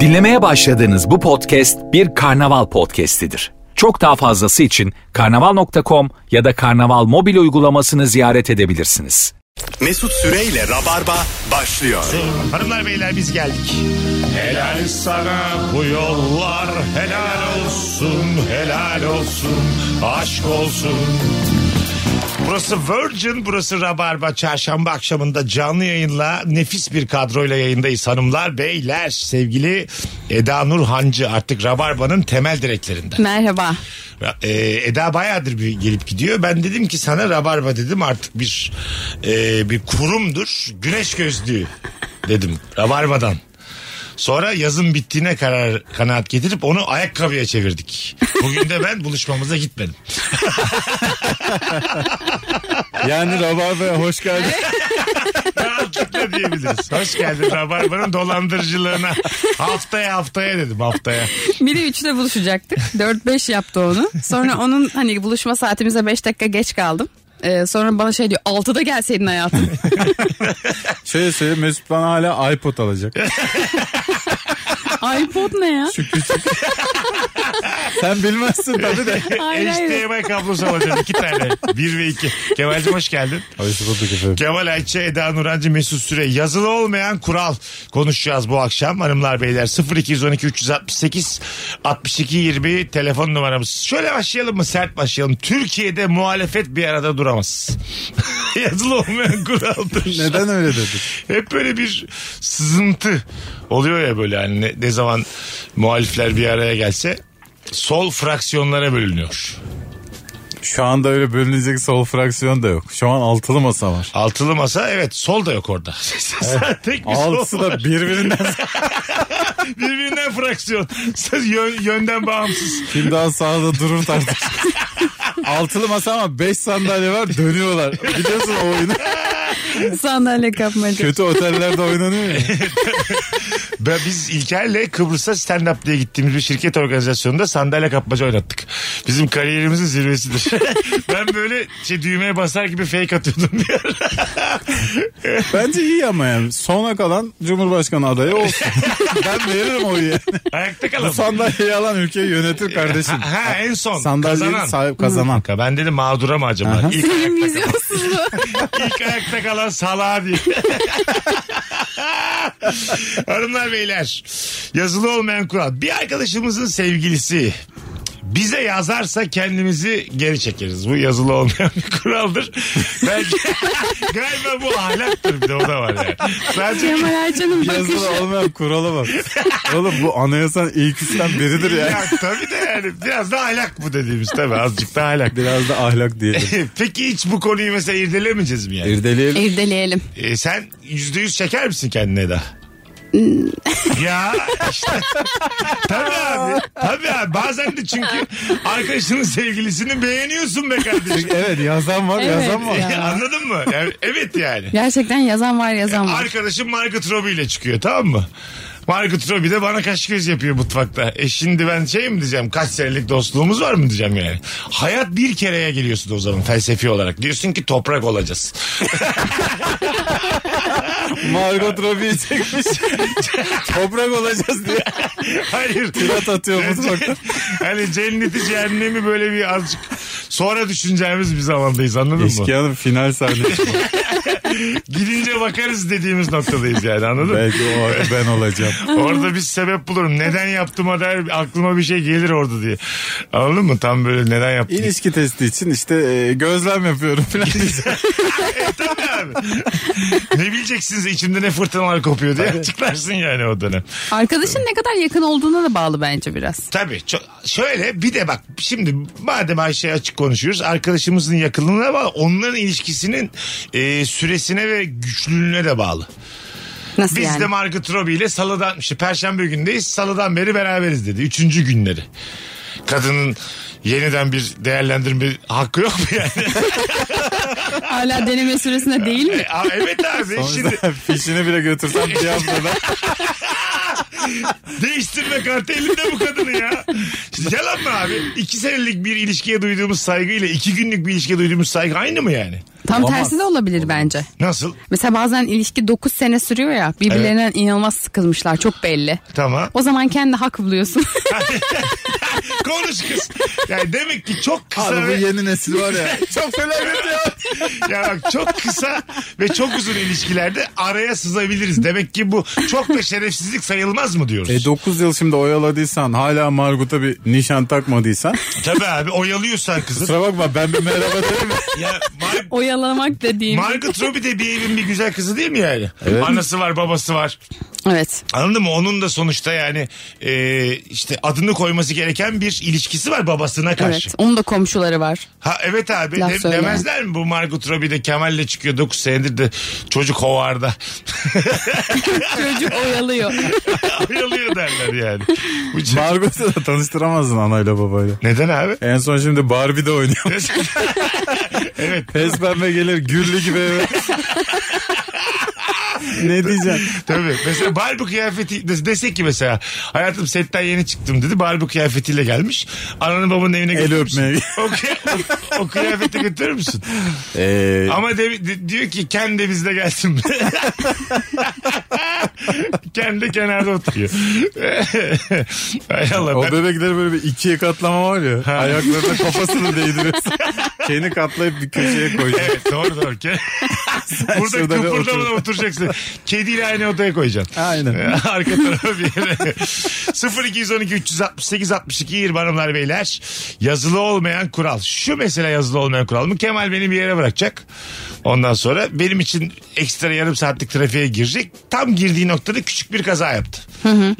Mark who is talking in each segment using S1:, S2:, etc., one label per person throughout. S1: Dinlemeye başladığınız bu podcast bir karnaval podcastidir. Çok daha fazlası için karnaval.com ya da karnaval mobil uygulamasını ziyaret edebilirsiniz.
S2: Mesut Süreyle Rabarba başlıyor.
S3: Hanımlar beyler biz geldik. Helal sana bu yollar helal olsun helal olsun aşk olsun. Burası Virgin, burası Rabarba. Çarşamba akşamında canlı yayınla nefis bir kadroyla yayındayız hanımlar, beyler. Sevgili Eda Nur Hancı artık Rabarba'nın temel direklerinden.
S4: Merhaba.
S3: Ee, Eda bayağıdır bir gelip gidiyor. Ben dedim ki sana Rabarba dedim artık bir e, bir kurumdur. Güneş gözlüğü dedim Rabarba'dan. Sonra yazın bittiğine karar kanaat getirip onu ayakkabıya çevirdik. Bugün de ben buluşmamıza gitmedim.
S5: Yani Rabarba'ya hoş geldin.
S3: Rahatlıkla diyebiliriz. Hoş geldin Rabarba'nın dolandırıcılığına. Haftaya haftaya dedim haftaya.
S4: Biri üçte buluşacaktık. 4-5 yaptı onu. Sonra onun hani buluşma saatimize 5 dakika geç kaldım. Ee, sonra bana şey diyor 6'da gelseydin hayatım.
S5: Şöyle söyleyeyim Şey Mesut bana hala iPod alacak.
S4: iPod ne ya?
S5: Şu küçük. Sen bilmezsin tabii de.
S4: Hayır, hayır.
S3: HDMI kablosu alacağım iki tane. Bir ve iki. Kemal'cim hoş geldin.
S5: Hoş bulduk efendim.
S3: Kemal Ayça, Eda Nurancı, Mesut Süre. Yazılı olmayan kural konuşacağız bu akşam. Hanımlar beyler 0212 368 62 20 telefon numaramız. Şöyle başlayalım mı sert başlayalım. Türkiye'de muhalefet bir arada duramaz. Yazılı olmayan kuraldır.
S5: Neden öyle dedik?
S3: Hep böyle bir sızıntı oluyor ya böyle hani ne, ne zaman muhalifler bir araya gelse sol fraksiyonlara bölünüyor.
S5: Şu anda öyle bölünecek sol fraksiyon da yok. Şu an altılı masa var.
S3: Altılı masa evet sol da yok orada. Tek bir sol
S5: Altısı da birbirinden
S3: Birbirinden fraksiyon. Yön- yönden bağımsız.
S5: kim daha sağda durur tartışır. Altılı masa ama 5 sandalye var dönüyorlar. Biliyorsun o oyunu.
S4: Sandalye kapmaca.
S5: Kötü otellerde oynanıyor ya.
S3: Ben, biz İlker'le Kıbrıs'a stand-up diye gittiğimiz bir şirket organizasyonunda sandalye kapmaca oynattık. Bizim kariyerimizin zirvesidir. ben böyle şey, düğmeye basar gibi fake atıyordum bir ara.
S5: Bence iyi ama yani. Sona kalan Cumhurbaşkanı adayı olsun. ben veririm oyu yani.
S3: Ayakta
S5: Bu
S3: kalalım.
S5: sandalyeyi alan ülkeyi yönetir kardeşim.
S3: Ha, ha, en son
S5: Sandalyeyi
S3: kazanan.
S5: sahip kazanan. Hmm.
S3: Ben dedim mağdura mı acaba?
S5: Aha.
S3: İlk, ayakta,
S4: Vizyonsuzluğu.
S3: ilk ayakta kalan salağa diye. Hanımlar beyler yazılı olmayan kural. Bir arkadaşımızın sevgilisi bize yazarsa kendimizi geri çekeriz. Bu yazılı olmayan bir kuraldır. Belki galiba bu ahlaktır bir de o da var yani. Sadece
S4: Kemal Ayça'nın bakışı.
S5: Yazılı olmayan kurala bak. Oğlum bu anayasanın ilk üçten biridir ya.
S3: ya, tabii de yani biraz da ahlak bu dediğimiz tabii azıcık da ahlak.
S5: Biraz da ahlak diyelim.
S3: Peki hiç bu konuyu mesela irdelemeyeceğiz mi yani?
S5: İrdeleyelim.
S4: İrdeleyelim.
S3: E, sen yüzde yüz çeker misin kendine da? ya işte. tabii abi. Tabii abi. Bazen de çünkü arkadaşının sevgilisini beğeniyorsun be kardeşim.
S5: Evet yazan var
S4: Evet.
S5: yazan var.
S4: Ya.
S3: E, Anladın mı? Yani, evet yani.
S4: Gerçekten yazan var yazan var.
S3: Arkadaşım Margot Robbie ile çıkıyor tamam mı? Margot Robbie de bana kaş göz yapıyor mutfakta. E şimdi ben şey mi diyeceğim kaç senelik dostluğumuz var mı diyeceğim yani. Hayat bir kereye geliyorsun o zaman felsefi olarak. Diyorsun ki toprak olacağız.
S5: Margot Robbie'yi çekmiş. Toprak olacağız diye.
S3: Hayır.
S5: Tirat atıyor mutfakta.
S3: hani cenneti cehennemi böyle bir azıcık sonra düşüneceğimiz bir zamandayız anladın mı?
S5: Eski hanım final sahnesi.
S3: Gidince bakarız dediğimiz noktadayız yani anladın mı?
S5: Belki o ara ben olacağım.
S3: Orada bir sebep bulurum. Neden yaptım der aklıma bir şey gelir orada diye. Anladın mı? Tam böyle neden yaptım.
S5: İlişki testi için işte e, gözlem yapıyorum falan diyeceğim.
S3: Tabii abi. ne bileceksiniz içimde ne fırtınalar kopuyor diye açıklarsın yani o dönem.
S4: Arkadaşın ne kadar yakın olduğuna da bağlı bence biraz.
S3: Tabii. Ço- şöyle bir de bak şimdi madem Ayşe'ye açık konuşuyoruz arkadaşımızın yakınlığına bağlı onların ilişkisinin e, süresine ve güçlülüğüne de bağlı.
S4: Nasıl
S3: Biz
S4: yani?
S3: de Margot Robbie ile salıdan işte perşembe gündeyiz salıdan beri beraberiz dedi. Üçüncü günleri. Kadının yeniden bir değerlendirme hakkı yok mu yani?
S4: Hala deneme süresinde değil mi?
S3: E, a- evet abi.
S5: O
S3: Şimdi
S5: yüzden fişini bile götürsem bir haftada
S3: Değiştirme kartı elinde bu kadını ya. Şimdi yalan mı abi? İki senelik bir ilişkiye duyduğumuz saygıyla iki günlük bir ilişkiye duyduğumuz saygı aynı mı yani?
S4: Tam
S1: Olamaz.
S4: tersi de olabilir bence.
S3: Nasıl?
S4: Mesela bazen ilişki 9 sene sürüyor ya birbirlerinden inanılmaz sıkılmışlar çok belli.
S3: Tamam.
S4: O zaman kendi hak buluyorsun.
S3: Konuş kız. Yani demek ki çok kısa
S5: Abi bu
S3: ve,
S5: yeni nesil var ya. Çok felaket ya.
S3: ya bak çok kısa ve çok uzun ilişkilerde araya sızabiliriz. Demek ki bu çok da şerefsizlik sayılmaz mı diyoruz?
S5: E 9 yıl şimdi oyaladıysan hala Margut'a bir nişan takmadıysan.
S3: Tabii abi oyalıyorsan kızı.
S5: Kusura bakma ben bir merhaba derim.
S3: ya Mar-
S4: Oyalamak dediğim.
S3: Margot Robbie de bir evin bir güzel kızı değil mi yani? Anası var babası var.
S4: evet.
S3: Anladın mı? Onun da sonuçta yani e, işte adını koyması gereken bir ilişkisi var babasına karşı.
S4: Evet. Onun da komşuları var.
S3: Ha evet abi
S4: Laf
S3: de-
S4: söyle.
S3: demezler mi bu Margot Robbie de Kemal'le çıkıyor 9 senedir de çocuk hovarda.
S4: Çocuk oyalıyor.
S3: Ayılıyor derler yani. Bu çocuk-
S5: Margut'u da tanıştıramazdın anayla babayla.
S3: Neden abi?
S5: En son şimdi Barbie'de oynuyor.
S3: evet.
S5: Pes pembe gelir güllü gibi eve. ne diyeceksin?
S3: Tabii. Mesela Barbie kıyafeti des- desek ki mesela hayatım setten yeni çıktım dedi. Barbie kıyafetiyle gelmiş. Ananın babanın evine götürür müsün?
S5: öpmeye.
S3: O, kıy- o, o kıyafeti götürür müsün?
S5: Ee,
S3: Ama de- de- diyor ki kendi bizde gelsin. kendi kenarda oturuyor. Hay Allah.
S5: o
S3: ben-
S5: bebekleri böyle bir ikiye katlama var ya. Ayaklarına kafasını değdiriyorsun. Kendi katlayıp bir köşeye koyacaksın.
S3: Evet doğru doğru. Ke- Burada
S5: şurada bir
S3: kıpırdamadan
S5: otur.
S3: oturacaksın. Kediyle aynı odaya koyacaksın.
S5: Aynen.
S3: Arka tarafa bir yere. 0212 368 62 20 hanımlar beyler. Yazılı olmayan kural. Şu mesela yazılı olmayan kural mı? Kemal beni bir yere bırakacak. Ondan sonra benim için ekstra yarım saatlik trafiğe girecek. Tam girdiği noktada küçük bir kaza yaptı.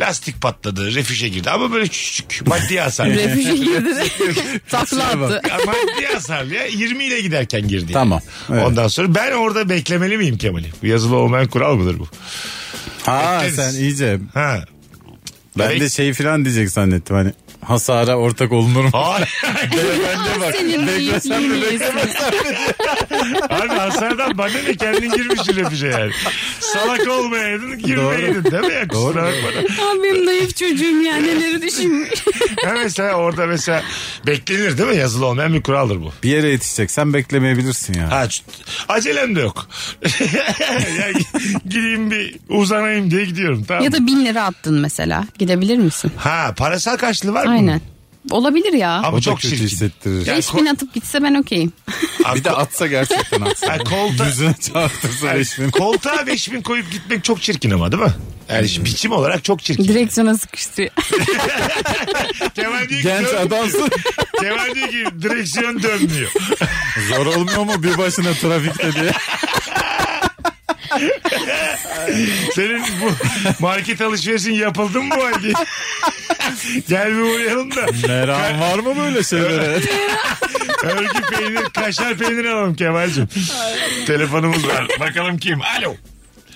S3: Lastik patladı, refüje girdi ama böyle küçük maddi hasar.
S4: Refüje girdi de takla
S5: Şuna bak.
S4: attı.
S3: Ya maddi hasar ya 20 ile giderken girdi.
S5: Tamam, evet.
S3: Ondan sonra ben orada beklemeli miyim Kemal'i? Bu yazılı olmayan kural mıdır bu?
S5: Ha
S3: Bekleriz.
S5: sen iyice.
S3: Ha.
S5: Ben de şey falan diyecek zannettim hani. Hasara ortak olunur mu?
S3: Ay,
S5: Beyefendiye bak.
S4: Senin
S5: Beklesem mi
S4: iyiliğin iyisi.
S3: Abi hasardan bana ne kendin girmişsin refüje yani. Salak olmayaydın girmeyeydin değil mi ya? Kusura bakma.
S4: Aa, Benim naif çocuğum ya neleri düşünmüş.
S3: Ya mesela orada mesela beklenir değil mi? Yazılı olmayan bir kuraldır bu.
S5: Bir yere yetişeceksen beklemeyebilirsin ya.
S3: Ha, ç- acelem de yok. ya, gideyim bir uzanayım diye gidiyorum tamam.
S4: ya da bin lira attın mesela gidebilir misin?
S3: Ha parasal karşılığı var mı?
S4: Aynen. Olabilir ya.
S3: Ama
S5: O da
S3: çok
S5: kötü
S3: çirkin.
S5: hissettirir.
S3: Ya,
S4: 5000 atıp gitse ben okeyim.
S3: ko-
S5: Bir de atsa gerçekten atsa.
S3: Ha, kolta-
S5: Yüzüne çarptırsa resmini.
S3: Koltuğa 5000 koyup gitmek çok çirkin ama değil mi? Yani şimdi biçim olarak çok çirkin.
S4: Direksiyona sıkıştı.
S3: Kemal diyor ki,
S5: Genç
S3: dön-
S5: adamsın.
S3: Kemal diyor ki direksiyon dönmüyor.
S5: Zor olmuyor mu bir başına trafikte diye.
S3: Senin bu market alışverişin yapıldı mı bu halde? Gel bir uğrayalım da.
S5: Meram var mı böyle şeylere?
S3: Örgü peynir, kaşar peynir alalım Kemal'cim. Telefonumuz var. Bakalım kim? Alo.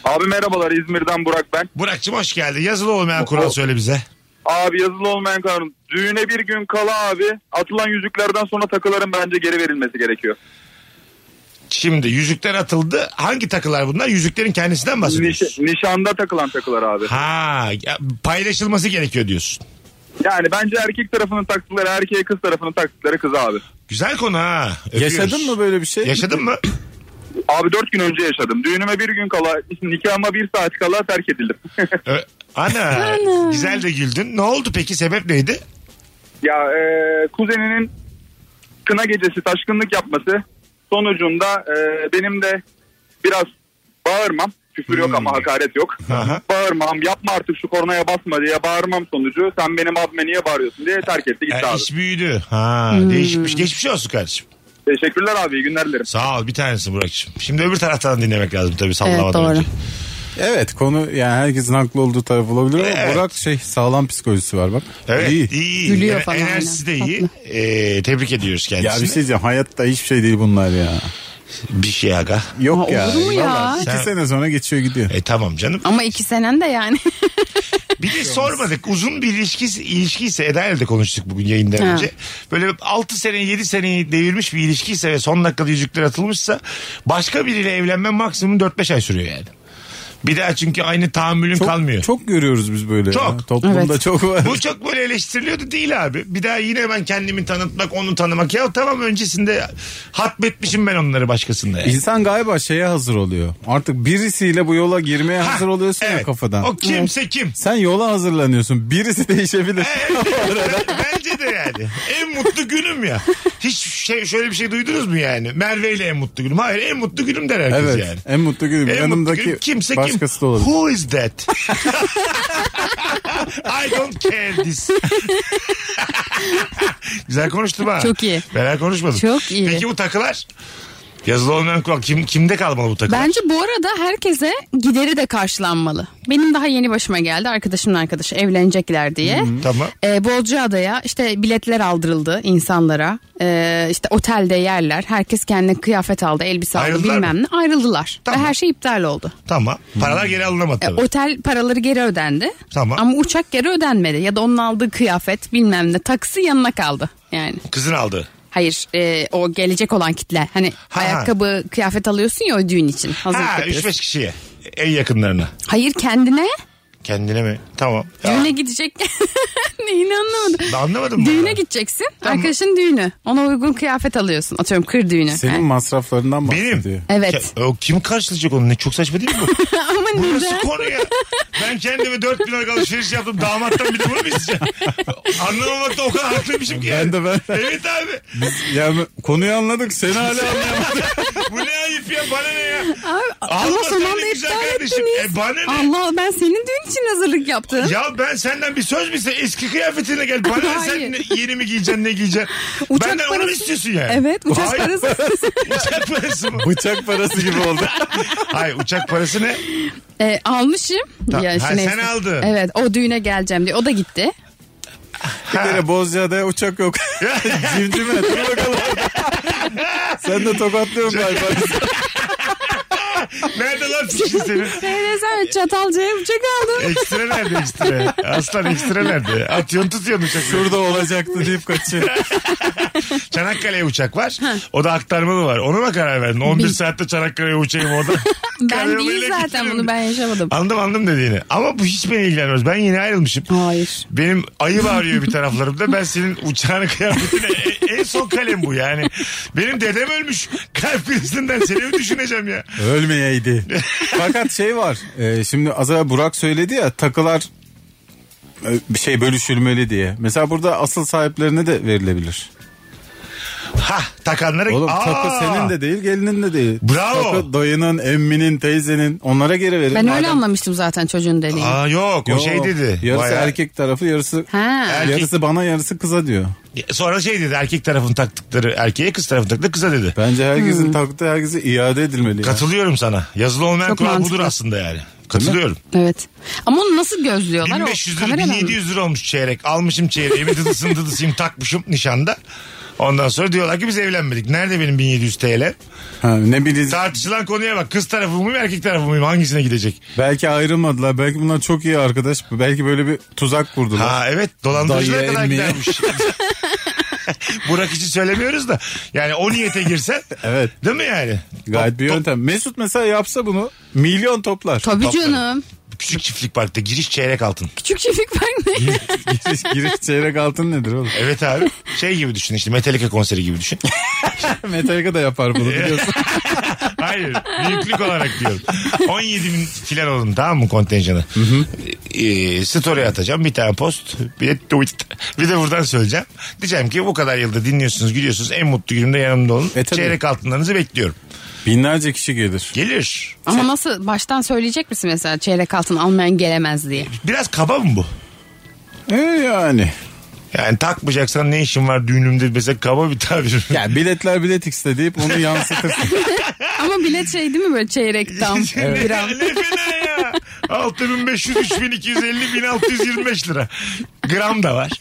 S6: Abi merhabalar İzmir'den Burak ben.
S3: Burak'cığım hoş geldin. Yazılı olmayan kural söyle bize.
S6: Abi yazılı olmayan kanun. Düğüne bir gün kala abi atılan yüzüklerden sonra takıların bence geri verilmesi gerekiyor.
S3: Şimdi yüzükler atıldı. Hangi takılar bunlar? Yüzüklerin kendisinden bahsediyoruz.
S6: Niş- nişanda takılan takılar abi.
S3: Ha, ya paylaşılması gerekiyor diyorsun.
S6: Yani bence erkek tarafının taktıkları erkeğe kız tarafının taktıkları kız abi.
S3: Güzel konu ha. Öpüyoruz.
S5: Yaşadın mı böyle bir şey?
S3: Yaşadın mı?
S6: Abi dört gün önce yaşadım. Düğünüme bir gün kala nikahıma bir saat kala terk edildim.
S3: Ö- Ana, güzel de güldün. Ne oldu peki sebep neydi?
S6: ya e, kuzeninin kına gecesi taşkınlık yapması sonucunda e, benim de biraz bağırmam. Küfür yok ama hakaret yok.
S3: Aha.
S6: Bağırmam yapma artık şu kornaya basma diye bağırmam sonucu sen benim abime niye bağırıyorsun diye terk etti gitti
S3: Ya,
S6: abi.
S3: E, iş büyüdü. Ha,
S5: Hmm.
S3: değişmiş. Geçmiş olsun kardeşim.
S6: Teşekkürler abi iyi günler dilerim.
S3: Sağ ol bir tanesi Burak'cığım. Şimdi öbür taraftan dinlemek lazım tabii sallamadan
S4: doğru.
S3: önce.
S5: Evet konu yani herkesin haklı olduğu taraf olabilir ama
S3: Evet.
S5: Burak şey sağlam psikolojisi var bak.
S3: Evet iyi.
S5: İyi.
S3: iyi.
S4: Gülüyor
S3: Yani
S4: falan
S3: Enerjisi de
S4: aynen.
S3: iyi. Ee, tebrik ediyoruz kendisini.
S5: Ya bir şey diyeceğim hayatta hiçbir şey değil bunlar ya.
S3: Bir şey aga.
S5: Yok
S4: Aa,
S5: ya.
S4: olur mu ya?
S5: vallahi İki
S3: Sen-
S5: sene sonra geçiyor gidiyor.
S3: E tamam canım.
S4: Ama iki senen de yani.
S3: Bir de
S5: şey
S3: sormadık. Uzun bir ilişki, ilişkiyse Eda ile de konuştuk bugün yayından
S4: Ha.
S3: önce. Böyle 6 sene 7 seneyi devirmiş bir ilişkiyse ve son dakikada yüzükler atılmışsa başka biriyle evlenme maksimum 4-5 ay sürüyor yani. Bir daha çünkü aynı tahammülün
S5: Çok,
S3: kalmıyor.
S5: çok görüyoruz biz böyle.
S3: Çok.
S5: ya. Toplumda
S4: Evet.
S5: çok var.
S3: Bu çok böyle eleştiriliyordu değil abi. Bir daha yine ben kendimi tanıtmak, onu tanımak. Ya tamam öncesinde hatmetmişim ben onları başkasında. Yani.
S5: İnsan galiba şeye hazır oluyor. Artık birisiyle bu yola girmeye
S3: Ha,
S5: hazır oluyorsun ya
S3: evet.
S5: kafadan.
S3: O kimse kim.
S5: Sen yola hazırlanıyorsun. Birisi değişebilir.
S3: Evet, Bence de yani. En mutlu günüm ya. Hiç şey, şöyle bir şey duydunuz mu yani? Merve ile en mutlu günüm. Hayır en mutlu günüm der herkes
S5: Evet.
S3: yani.
S5: En mutlu günüm.
S3: En
S5: Yanımdaki
S3: mutlu günüm kimse
S5: başkası
S3: kim.
S5: da olabilir.
S3: Who is that? I don't care this. Güzel konuştum ha.
S4: Çok iyi.
S3: Beraber konuşmadım.
S4: Çok iyi.
S3: Peki bu takılar? Yazılı olmayan kural. Kim, kimde kalmalı bu takılar?
S4: Bence bu arada herkese gideri de karşılanmalı. Benim daha yeni başıma geldi arkadaşımın arkadaşı evlenecekler diye.
S3: Tamam.
S4: Ee, Bolcaada'ya işte biletler aldırıldı insanlara. Ee, işte otelde yerler. Herkes kendine kıyafet aldı, elbise aldı
S3: Ayrıldılar
S4: bilmem
S3: mı?
S4: ne. Ayrıldılar.
S3: Tamam.
S4: Ve her şey iptal oldu.
S3: Tamam. Paralar geri alınamadı
S4: Ee,
S3: tabii.
S4: otel paraları geri ödendi.
S3: Tamam.
S4: Ama uçak geri ödenmedi. Ya da onun aldığı kıyafet bilmem ne. Taksi yanına kaldı yani.
S3: Kızın aldı.
S4: Hayır e, o gelecek olan kitle. Hani
S3: Ha.
S4: ayakkabı, kıyafet alıyorsun ya o düğün için. Hazırlık
S3: Ha
S4: yapıyorsun.
S3: 3-5 kişiye. En yakınlarına.
S4: Hayır kendine.
S3: Kendine mi? Tamam. Ya,
S4: Düğüne gidecek. Neyini anlamadım.
S3: ben anlamadım. bunu.
S4: Düğüne gideceksin. Arkadaşın düğünü. Ona uygun kıyafet alıyorsun. Atıyorum kır düğünü.
S5: Senin
S4: Ha.
S5: masraflarından bahsediyor.
S3: Benim.
S5: Benim.
S4: Evet.
S3: Ke- o kim karşılayacak onu? Ne çok saçma değil mi bu?
S4: Ama
S3: Bu
S4: neden?
S3: nasıl konu ya? Ben kendime 4 bin liralık alışveriş yaptım. Damattan bir de bunu mu isteyeceğim? Anlamamakta o kadar haklıymışım ki. yani.
S5: Ben de ben.
S3: Evet abi.
S5: Yani konuyu anladık. Seni hala anlayamadım.
S3: Bu ne ayıp ya? Bana ne ya?
S4: Ama
S3: Allah
S4: son
S3: seni
S4: anda
S3: güzel
S4: iptal
S3: kardeşim.
S4: ettiniz.
S3: E, bana ne?
S4: Allah ben senin düğün için hazırlık yaptım.
S3: Ya ben senden bir söz mü istedim? Eski kıyafetine gel. Bana ne sen
S4: Hayır.
S3: ne- yeni mi giyeceksin ne giyeceksin?
S4: Uçak
S3: Benden onu mu
S4: parası-
S3: istiyorsun yani?
S4: Evet uçak
S3: Hayır.
S4: parası.
S3: Uçak parası mı?
S5: Bıçak parası gibi oldu.
S3: Hayır uçak parası ne?
S4: E, almışım.
S3: Ta-
S4: Ya, işte
S3: Ha, sen
S4: neyse.
S3: aldın.
S4: Evet o düğüne geleceğim diye. O da gitti.
S5: Bir kere Bozcaada'ya uçak yok. Cimcime dur bakalım. Sen de tokatlıyorsun galiba.
S3: Nerede lan fikrin senin?
S4: Neyse Çatalca'ya uçak aldım.
S3: Ekstra nerede ekstra? Aslan ekstra nerede? Atıyorsun tutuyorsun uçak.
S5: Şurada olacaktı deyip kaçıyor.
S3: Çanakkale'ye uçak var. O da aktarmalı var. Ona mı karar verdin? 11 saatte Çanakkale'ye uçayım orada.
S4: ben
S3: Karayoluyla
S4: değil zaten
S3: gidelim.
S4: bunu ben yaşamadım.
S3: Anladım anladım dediğini. Ama bu hiç beni ilgilenmez. Ben yeni ayrılmışım.
S4: Hayır.
S3: Benim ayı bağırıyor bir taraflarımda. Ben senin uçağını kıyafetine e- en son kalem bu yani. Benim dedem ölmüş. Kalp krizinden seni mi düşüneceğim ya?
S5: Ölmeyeydi. Fakat şey var. e, şimdi az evvel Burak söyledi ya takılar e, bir şey bölüşülmeli diye. Mesela burada asıl sahiplerine de verilebilir.
S3: Ha takanlara.
S5: Oğlum
S3: Aa!
S5: takı senin de değil, gelinin de değil.
S3: Bravo.
S5: Takı dayının, emminin, teyzenin onlara geri verin.
S4: Ben öyle
S5: Madem-
S4: anlamıştım zaten çocuğun dediğini.
S3: Aa yok, o
S5: Yok,
S3: şey dedi.
S5: Yarısı
S3: Bayağı-
S5: erkek tarafı, yarısı
S4: Ha.
S3: Erkek-
S5: yarısı bana, yarısı kıza diyor.
S3: Sonra şey dedi erkek tarafın taktıkları erkeğe kız tarafın taktıkları kıza dedi.
S5: Bence herkesin
S4: Hmm.
S5: taktığı herkese iade edilmeli. ya.
S3: Katılıyorum sana. Yazılı olmayan
S4: Çok
S3: kural
S4: mantıklı.
S3: budur aslında yani. Katılıyorum.
S4: Evet. Ama onu nasıl gözlüyorlar? O
S3: 1500 lira
S4: kameradan mı?
S3: 1700 lira olmuş çeyrek. Almışım çeyreğimi dıdısın dıdısıyım takmışım nişanda. Ondan sonra diyorlar ki biz evlenmedik. Nerede benim 1700 TL?
S5: Ha, ne bileyim.
S3: Tartışılan konuya bak. Kız tarafı mıyım erkek tarafı mıyım? Hangisine gidecek?
S5: Belki ayrılmadılar. Belki bunlar çok iyi arkadaş. Belki böyle bir tuzak kurdular.
S3: Ha evet dolandırıcılara
S5: Dayıya
S3: kadar
S5: emmiye.
S3: gidermiş. Burak için söylemiyoruz da. Yani o niyete girsen.
S5: Evet.
S3: Değil mi yani?
S5: Gayet bir
S3: Top- top-
S5: yöntem. Mesut mesela yapsa bunu milyon toplar.
S4: Tabii
S3: Toplarım.
S4: canım.
S3: Küçük çiftlik parkta giriş çeyrek altın.
S4: Küçük çiftlik park ne?
S5: giriş, giriş çeyrek altın nedir oğlum?
S3: Evet abi. Şey gibi düşün işte Metallica konseri gibi düşün.
S5: Metallica da yapar bunu biliyorsun.
S3: Hayır. Büyüklük olarak diyorum. 17 bin filan oldum tamam mı kontenjanı? Ee, story atacağım. Bir tane post. Bir de tweet. Bir de buradan söyleyeceğim. Diyeceğim ki bu kadar yılda dinliyorsunuz, gülüyorsunuz. En mutlu günümde yanımda olun.
S5: E, tabii.
S3: Çeyrek altınlarınızı bekliyorum.
S5: Binlerce kişi gelir.
S3: Gelir.
S4: Ama nasıl baştan söyleyecek misin mesela çeyrek altın almayan gelemez diye.
S3: Biraz kaba mı bu?
S5: E yani.
S3: Yani takmayacaksan ne işin var düğünümde mesela kaba bir tabir.
S5: Ya biletler bilet X'te deyip onu yansıtırsın.
S4: Ama bilet şey değil mi böyle çeyrek tam
S3: Ne-
S4: gram.
S3: ne fena ya. 6500, 3250, 1625 lira. Gram da var.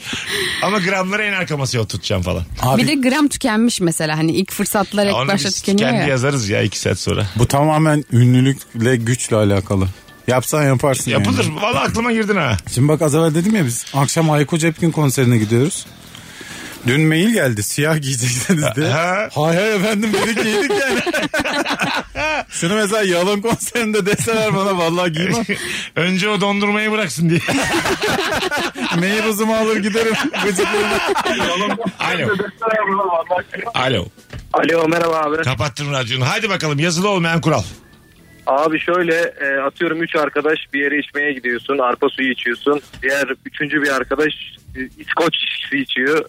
S3: Ama gramları en arka masaya oturtacağım falan.
S4: Bir de gram tükenmiş mesela hani ilk fırsatlar
S3: Ya
S4: ilk
S3: Onu
S4: başta
S3: biz
S4: tükeniyor
S3: kendi
S4: ya.
S3: yazarız ya iki saat sonra.
S5: Bu tamamen ünlülükle güçle alakalı. Yapsan yaparsın
S3: Yapılır.
S5: yani.
S3: Valla aklıma girdin ha.
S5: Şimdi bak az evvel dedim ya biz akşam Hayko Cepkin konserine gidiyoruz. Dün mail geldi siyah giyeceksiniz diye.
S3: Ha.
S5: Hay hay efendim dedik giydik yani. Seni mesela yalan konserinde deseler bana vallahi giymem.
S3: Önce o dondurmayı bıraksın diye.
S5: Meybuzumu alır giderim. Gıcıklığına.
S3: Alo. Alo.
S6: Alo merhaba abi.
S3: Kapattım radyonu. Hadi bakalım yazılı olmayan kural.
S6: Abi şöyle e, atıyorum 3 arkadaş bir yere içmeye gidiyorsun. Arpa suyu içiyorsun. Diğer üçüncü bir arkadaş e, İskoç su içiyor.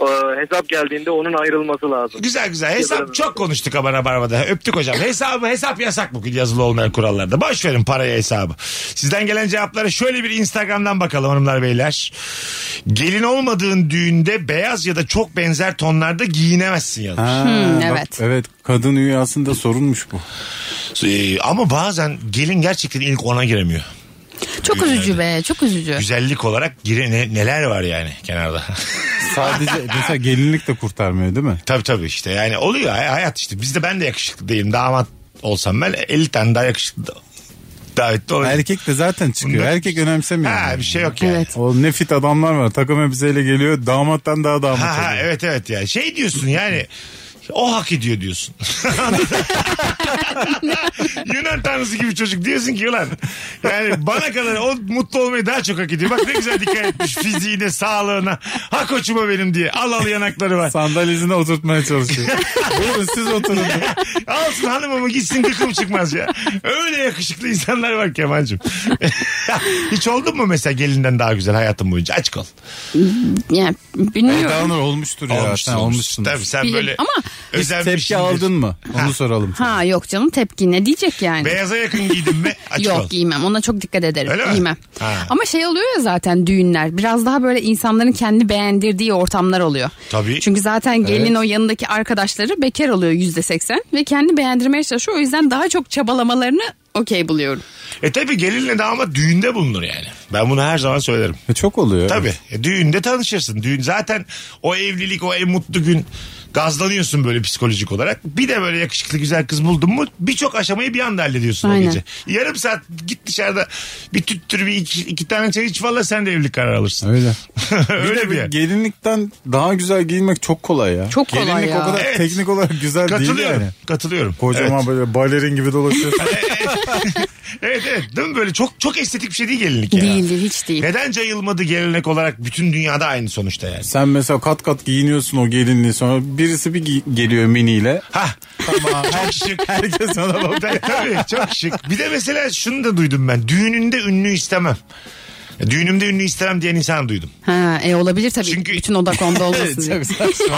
S6: E, hesap geldiğinde onun ayrılması lazım.
S3: Güzel güzel. Hesap çok konuştuk ama Rabarba'da. Öptük hocam. Hesabı hesap yasak bugün yazılı olmayan kurallarda. Boş verin paraya hesabı. Sizden gelen cevaplara şöyle bir Instagram'dan bakalım hanımlar beyler. Gelin olmadığın düğünde beyaz ya da çok benzer tonlarda giyinemezsin yazmış.
S4: Hmm,
S5: Bak,
S4: evet.
S5: evet kadın üyasında sorunmuş bu.
S3: Ee, ama bazen gelin gerçekten ilk ona giremiyor.
S4: Çok üzücü be çok üzücü.
S3: Güzellik olarak gire ne- neler var yani kenarda.
S5: Sadece mesela gelinlik de kurtarmıyor değil mi?
S3: tabii tabii işte yani oluyor hay- hayat işte. Bizde ben de yakışıklı değilim. Damat olsam ben 50 tane daha yakışıklı da- davetli olabilirim.
S5: Erkek de zaten çıkıyor.
S3: Bunda-
S5: Erkek önemsemiyor.
S3: Ha
S5: yani.
S3: bir şey yok yani.
S4: Evet.
S5: Oğlum ne fit adamlar var. Takım elbiseyle geliyor. Damattan daha damat.
S3: Ha,
S5: oluyor.
S3: ha, evet evet ya. Şey diyorsun yani o hak ediyor diyorsun. Yunan tanrısı gibi çocuk diyorsun ki ulan yani bana kadar o mutlu olmayı daha çok hak ediyor. Bak ne güzel dikkat etmiş fiziğine sağlığına. Ha koçuma benim diye. Al al yanakları var.
S5: Sandalyesine oturtmmaya çalışıyor. Buyurun siz oturun.
S3: Alsın hanımımı gitsin kıkım çıkmaz ya. Öyle yakışıklı insanlar var Kemal'cim. Hiç oldun mu mesela gelinden daha güzel hayatın boyunca? Açık ol.
S4: Yani bilmiyorum.
S5: Dağınır olmuştur ya.
S3: Olmuşsun,
S5: Sen
S3: olmuşsun.
S5: olmuşsun.
S3: Tabii sen
S4: Bilir-
S3: böyle şey
S4: Ama
S3: özelmişsindir.
S5: Tepki aldın mı? Onu soralım.
S4: ha yok canım tepki ne diyecek yani?
S3: Beyaza yakın giydin mi? Açık ol.
S4: Yok giymem ona çok dikkat ederim
S3: Öyle mi?
S4: giymem.
S3: Ha.
S4: Ama şey oluyor ya zaten düğünler biraz daha böyle insanların kendi beğendirdiği ortamlar oluyor.
S3: Tabii.
S4: Çünkü zaten gelin o yanındaki arkadaşları bekar oluyor yüzde seksen ve kendi beğendirmeye çalışıyor o yüzden daha çok çabalamalarını okey buluyorum.
S3: E tabi gelinle damat düğünde bulunur yani. Ben bunu her zaman söylerim.
S5: E, Çok oluyor.
S3: Tabi düğünde tanışırsın. Düğün zaten o evlilik o en mutlu gün gazlanıyorsun böyle psikolojik olarak. Bir de böyle yakışıklı güzel kız buldun mu birçok aşamayı bir anda hallediyorsun o
S4: Aynen.
S3: gece. Yarım saat git dışarıda bir tüttür bir iki, iki tane çay iç valla sen de evlilik kararı alırsın.
S5: Öyle.
S3: Öyle bir yer.
S5: Gelinlikten daha güzel giyinmek çok kolay ya.
S4: Çok kolay
S5: Gelinlik
S4: ya.
S5: o kadar
S3: Evet.
S5: teknik olarak güzel değil
S3: Katılıyorum.
S5: yani.
S3: Katılıyorum.
S5: Kocaman böyle balerin gibi dolaşıyorsun.
S3: Evet evet değil mi böyle çok çok estetik bir şey değil gelinlik ya.
S4: Değildir hiç değil.
S3: Neden cayılmadı gelenek olarak bütün dünyada aynı sonuçta yani.
S5: Sen mesela kat kat giyiniyorsun o gelinliği sonra birisi bir gi- geliyor miniyle.
S3: Hah
S5: Tamam.
S3: çok şık.
S5: Herkes ona bak.
S3: Tabii, tabii çok şık. Bir de mesela şunu da duydum ben. Düğününde ünlü istemem. Düğünümde ünlü istemem diyen insan duydum.
S4: Ha, e, olabilir tabii
S3: Çünkü-
S4: bütün odak onda olmasın diye.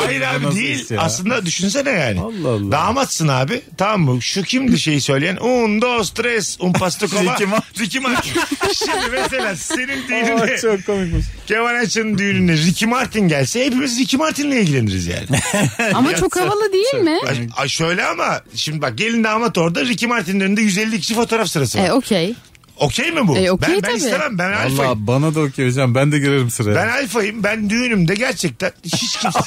S3: Hayır
S5: Bu
S3: abi
S5: nasıl
S3: değil.
S5: iş ya?
S3: Aslında düşünsene yani.
S5: Allah Allah.
S3: Damatsın abi. Tamam mı? Şu kimdi şeyi söyleyen? Un, dos, tres, un pasto coma.
S5: Ricky Martin.
S3: Ricky Martin. Şimdi mesela senin
S5: Aa,
S3: düğününe
S5: çok komikmiş.
S3: Kemal Ayça'nın düğününe Ricky Martin gelse hepimiz Ricky Martin'le ilgileniriz yani.
S4: Ama çok havalı değil mi?
S3: Ay- ay şöyle ama şimdi bak gelin damat orada Ricky Martin'in önünde 150 kişi fotoğraf sırası var.
S4: E okey.
S3: Okey mi bu?
S4: E, okey
S3: ben, ben
S4: tabii.
S3: istemem. Ben alfayım.
S5: Valla bana da okey hocam ben de girerim sıraya.
S3: Ben alfayım. Ben düğünümde gerçekten hiç kimse...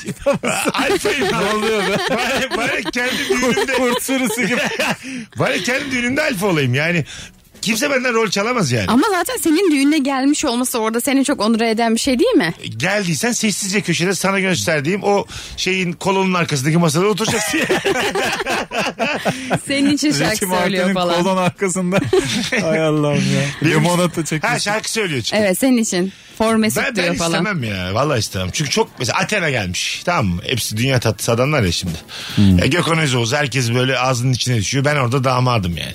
S3: alfayım. Ne oluyor be? Bari, bari kendi düğünümde...
S5: Kurt sürüsü gibi.
S3: bari kendi düğünümde alfa olayım. Yani kimse benden rol çalamaz yani.
S4: Ama zaten senin düğüne gelmiş olması orada seni çok onur eden bir şey değil mi?
S3: Geldiysen sessizce köşede sana gösterdiğim o şeyin kolonun arkasındaki masada oturacaksın.
S4: Senin için şarkı
S5: Ricky
S4: söylüyor
S5: Martin'in
S4: falan.
S5: kolon arkasında. Ay Allah'ım ya. Limonata çekiyor.
S3: ha şarkı söylüyor çünkü.
S4: Evet senin için. Forme
S3: Ben,
S4: sıktırıyor
S3: ben
S4: falan.
S3: istemem ya. Vallahi istemem. Çünkü çok mesela Athena gelmiş. Tamam mı? Hepsi dünya tatlısı adamlar ya şimdi.
S4: Hmm.
S3: Ya Gökhan Özoğuz herkes böyle ağzının içine düşüyor. Ben orada damadım yani.